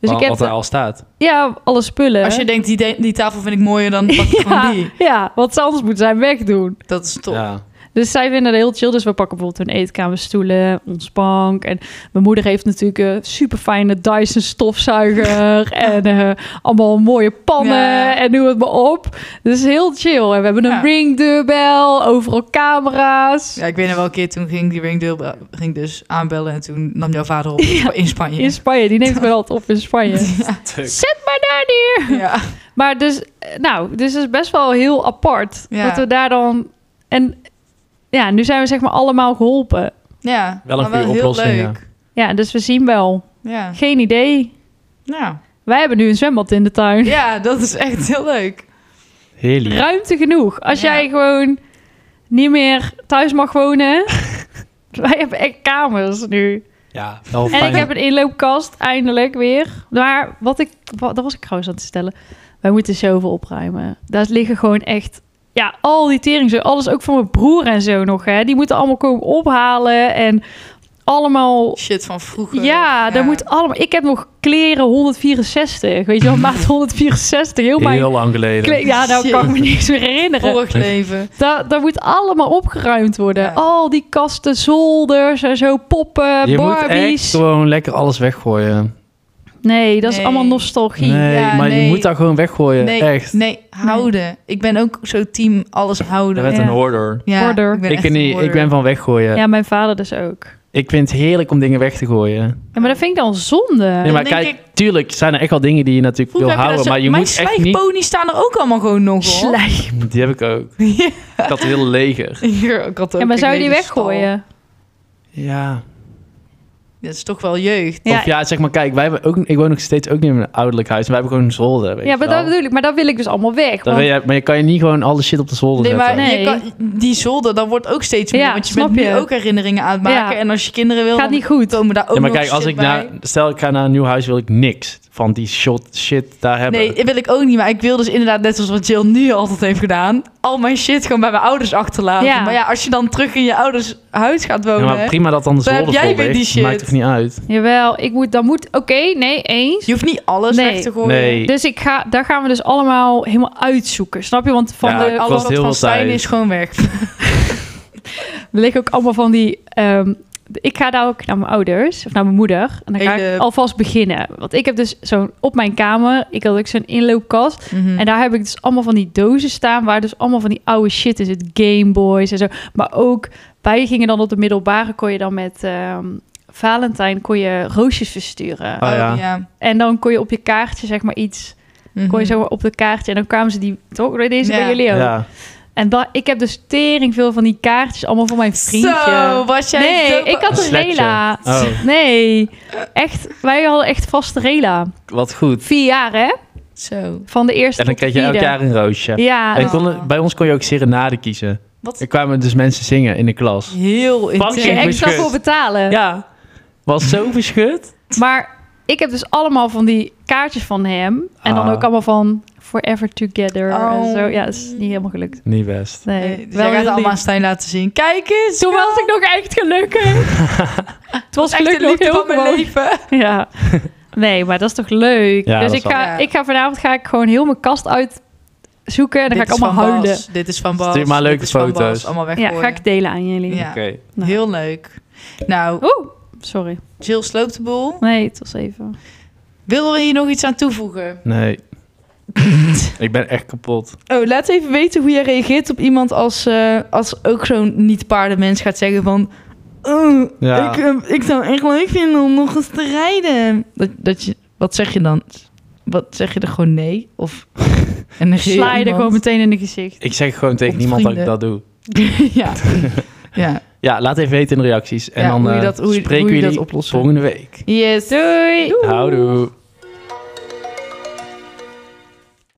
S3: Dus ik heb
S2: wat er al staat.
S3: ja, alle spullen.
S1: Als je denkt, die, de- die tafel vind ik mooier, dan pak ik
S3: ja,
S1: gewoon die.
S3: ja, wat ze anders moet zijn, wegdoen.
S1: Dat is top.
S2: Ja.
S3: Dus zij vinden het heel chill. Dus we pakken bijvoorbeeld hun eetkamerstoelen, ons bank. En mijn moeder heeft natuurlijk een super fijne Dyson stofzuiger. en eh, allemaal mooie pannen
S1: Ja.
S3: en noem het maar op. Dus heel chill. En we hebben een
S1: Ja.
S3: ringdeurbel, overal camera's.
S1: Ja, ik weet nog wel een keer, toen ging die ringdeurbel ging dus aanbellen en toen nam jouw vader op
S3: Ja.
S1: in Spanje.
S3: In Spanje, die neemt me altijd op in Spanje. Zet maar daar neer!
S1: Ja.
S3: Maar dus, eh, nou, dus het is best wel heel apart.
S1: Ja.
S3: Dat we daar dan... En ja, nu zijn we zeg maar allemaal geholpen.
S1: ja.
S2: Wel een
S1: maar
S2: goede
S1: heel
S2: oplossing, ja.
S1: leuk.
S3: Ja, dus we zien wel.
S1: Ja.
S3: Geen idee.
S1: Nou,
S3: Wij hebben nu een zwembad in de tuin.
S1: ja, dat is echt heel leuk.
S2: Heerlijk.
S3: Ruimte genoeg. Als
S1: Ja.
S3: jij gewoon niet meer thuis mag wonen. Wij hebben echt kamers nu.
S2: Ja, wel
S3: En
S2: fijn.
S3: ik heb een inloopkast, eindelijk weer. Maar wat ik, wat, dat was ik trouwens aan het stellen. Wij moeten zoveel opruimen. Daar liggen gewoon echt, ja, al die teringzooi. Alles ook van mijn broer en zo nog, hè. Die moeten allemaal komen ophalen en allemaal...
S1: Shit van vroeger.
S3: Ja, daar moet allemaal... Ik heb nog kleren 164, weet je wel, maat 164. Heel mijn...
S2: Heel lang geleden.
S3: kle- Ja, nou kan ik me
S1: Shit.
S3: niks meer herinneren.
S1: vorig leven.
S3: Daar, daar moet allemaal opgeruimd worden.
S1: Ja.
S3: Al die kasten, zolders en zo, poppen,
S2: je moet echt
S3: eh, Barbies.
S2: gewoon lekker alles weggooien.
S3: Nee, dat is
S1: Nee.
S3: allemaal nostalgie.
S2: Nee,
S1: Ja,
S2: maar
S1: nee.
S2: je moet dat gewoon weggooien.
S1: Nee,
S2: echt.
S1: nee, houden. Ik ben ook zo team alles
S2: Je
S1: houden.
S2: bent
S3: Ja.
S2: een hoorder.
S1: Ja,
S3: Hoorder.
S2: Ik,
S1: echt
S2: ben niet,
S1: hoorder.
S2: ik ben van weggooien.
S3: Ja, mijn vader dus ook.
S2: Ik vind het heerlijk om dingen weg te gooien.
S3: Ja, maar dat vind ik dan zonde.
S2: Nee, maar
S1: denk
S2: kijk, tuurlijk zijn er echt wel dingen die je natuurlijk
S1: Vroeger
S2: wil
S1: heb je dat
S2: houden.
S1: zo-
S2: Maar je
S1: Mijn
S2: moet echt niet...
S1: slijkponies staan er ook allemaal gewoon nog hoor.
S3: Slijm.
S2: Die heb ik ook. Ik had een heel leger.
S1: Hier, ik had ook
S3: Ja, maar
S1: een
S3: zou je die
S1: hele stal.
S3: weggooien?
S2: Ja.
S1: Dat is toch wel jeugd.
S3: Ja.
S2: Of ja, zeg maar, kijk, wij hebben ook, ik woon nog steeds ook niet in een ouderlijk huis. En wij hebben gewoon een zolder. Weet
S3: ja,
S2: je
S3: maar
S2: wel.
S3: dat bedoel ik. Maar dat wil ik dus allemaal weg.
S2: Dan
S3: want-
S2: wil je, maar je kan je niet gewoon alle shit op de zolder
S1: Nee, maar
S2: zetten.
S3: Nee.
S1: Je kan, die zolder, dan wordt ook steeds meer.
S3: Ja,
S1: want je
S3: snap
S1: bent nu
S3: je.
S1: ook herinneringen aan het maken.
S3: Ja.
S1: En als je kinderen wil,
S3: Gaat niet goed.
S1: dan komen daar ook
S2: Ja, maar
S1: nog
S2: kijk, als
S1: shit
S2: ik
S1: bij.
S2: naar, stel ik ga naar een nieuw huis, wil ik niks van die shot, shit daar hebben.
S1: Nee, dat wil ik ook niet. Maar ik wil dus inderdaad, net zoals wat Jill nu altijd heeft gedaan... al mijn shit gewoon bij mijn ouders achterlaten.
S3: Ja.
S1: Maar ja, als je dan terug in je ouders huis gaat
S2: Ja,
S1: wonen...
S2: maar prima dat dan de
S1: Dan heb
S2: zolder
S1: jij
S2: vol
S1: weer die
S2: ligt.
S1: shit.
S2: Maakt toch niet uit.
S3: Jawel, ik moet, dan moet... Oké, nee, eens.
S1: je hoeft niet alles
S3: Nee.
S1: weg te gooien.
S2: Nee.
S3: Dus ik ga, daar gaan we dus allemaal helemaal uitzoeken. Snap je? Want van
S2: Ja,
S3: de
S2: ik
S1: Alles
S2: was
S1: wat
S2: heel
S1: van
S2: veel
S1: Stijn
S2: tijd.
S1: is gewoon weg.
S3: Er liggen ook allemaal van die. ehm, ik ga daar ook naar mijn ouders of naar mijn moeder. En dan ga
S1: Hele-
S3: ik alvast beginnen. Want ik heb dus zo'n op mijn kamer. Ik had ook zo'n inloopkast.
S1: Mhm. Hm.
S3: En daar heb ik dus allemaal van die dozen staan. Waar dus allemaal van die oude shit is. Het Game Boys en zo. Maar ook wij gingen dan op de middelbare. Kon je dan met ehm, Valentijn kon je roosjes versturen.
S1: Ah.
S2: Oh, ja.
S3: En dan kon je op je kaartje zeg maar iets. Kon
S1: Mhm.
S3: je zo op de kaartje. En dan kwamen ze die. Toch? Deze
S1: Ja.
S3: bij jullie ook.
S2: Ja.
S3: En dan, ik heb dus tering veel van die kaartjes. Allemaal van mijn vriendje.
S1: Zo, was jij...
S3: Nee,
S1: zo-
S3: ik had
S2: Een
S3: een
S2: sletje.
S3: rela.
S2: Oh.
S3: Nee, echt. Wij hadden echt vaste rela.
S2: Wat goed.
S3: Vier jaar, hè?
S1: Zo.
S3: Van de eerste
S2: En dan
S3: tot
S2: kreeg je elk
S3: vierde.
S2: jaar een roosje.
S3: Ja,
S2: En
S1: Ah.
S2: kon, bij ons kon je ook serenade kiezen.
S1: Wat
S2: Er kwamen dus mensen zingen in de klas.
S1: heel
S2: Bankje.
S3: je
S1: intens.
S3: extra
S2: geschud.
S3: voor
S1: Eh.
S3: betalen.
S2: Ja. Was zo verschut.
S3: Maar ik heb dus allemaal van die kaartjes van hem. En dan
S2: Ah.
S3: ook allemaal van Forever Together en
S1: Oh.
S3: zo. Ja, dat is niet helemaal gelukt.
S2: Niet best.
S3: Nee,
S1: Nee, dus
S3: wel
S1: jij gaat
S3: heel
S1: het allemaal aan
S3: lief.
S1: Stijn laten zien. Kijk eens!
S3: Toen was ik nog echt gelukkig. Het was
S1: echt de
S3: gelukkig nog
S1: liefde
S3: heel
S1: van mijn
S3: gewoon.
S1: leven.
S3: Ja. Nee, maar dat is toch leuk?
S2: Ja,
S3: dus
S2: dat
S3: ik
S2: is wel-
S3: ga,
S1: Ja.
S3: ik ga vanavond ga ik gewoon heel mijn kast uitzoeken. En dan
S1: Dit
S3: ga
S1: is
S3: ik allemaal
S1: van
S3: huilen.
S1: Bas. Dit is van Bas.
S2: Stuur maar
S1: Dit
S2: leuke
S1: is van
S2: foto's.
S1: Bas. Allemaal
S3: Ja,
S1: weggooien.
S3: ga ik delen aan jullie.
S1: Ja.
S2: Oké.
S3: Nou.
S1: Heel leuk. Nou,
S3: Oeh, sorry.
S1: Jill sloopt de boel.
S3: Nee, het was even.
S1: Wil er hier nog iets aan toevoegen?
S2: Nee. ik ben echt kapot.
S1: Oh, laat even weten hoe jij reageert op iemand als, eh, als ook zo'n niet-paardenmens gaat zeggen van... "Oh,
S2: Ja.
S1: ik, eh, ik zou echt leuk vinden om nog eens te rijden. Dat, dat je, wat zeg je dan? Wat zeg je er gewoon nee? Of en dan
S3: Sla je er gewoon meteen in het gezicht.
S2: Ik zeg gewoon tegen
S1: Op
S2: niemand dat ik
S1: vrienden.
S2: dat doe.
S1: ja. ja.
S2: Ja, laat even weten in de reacties. En
S1: Ja,
S2: dan
S1: hoe je
S2: eh,
S1: dat- hoe je-
S2: spreken
S1: hoe je
S2: jullie
S1: dat oplost.
S2: volgende week.
S1: Yes.
S3: Doei.
S2: Houdoe.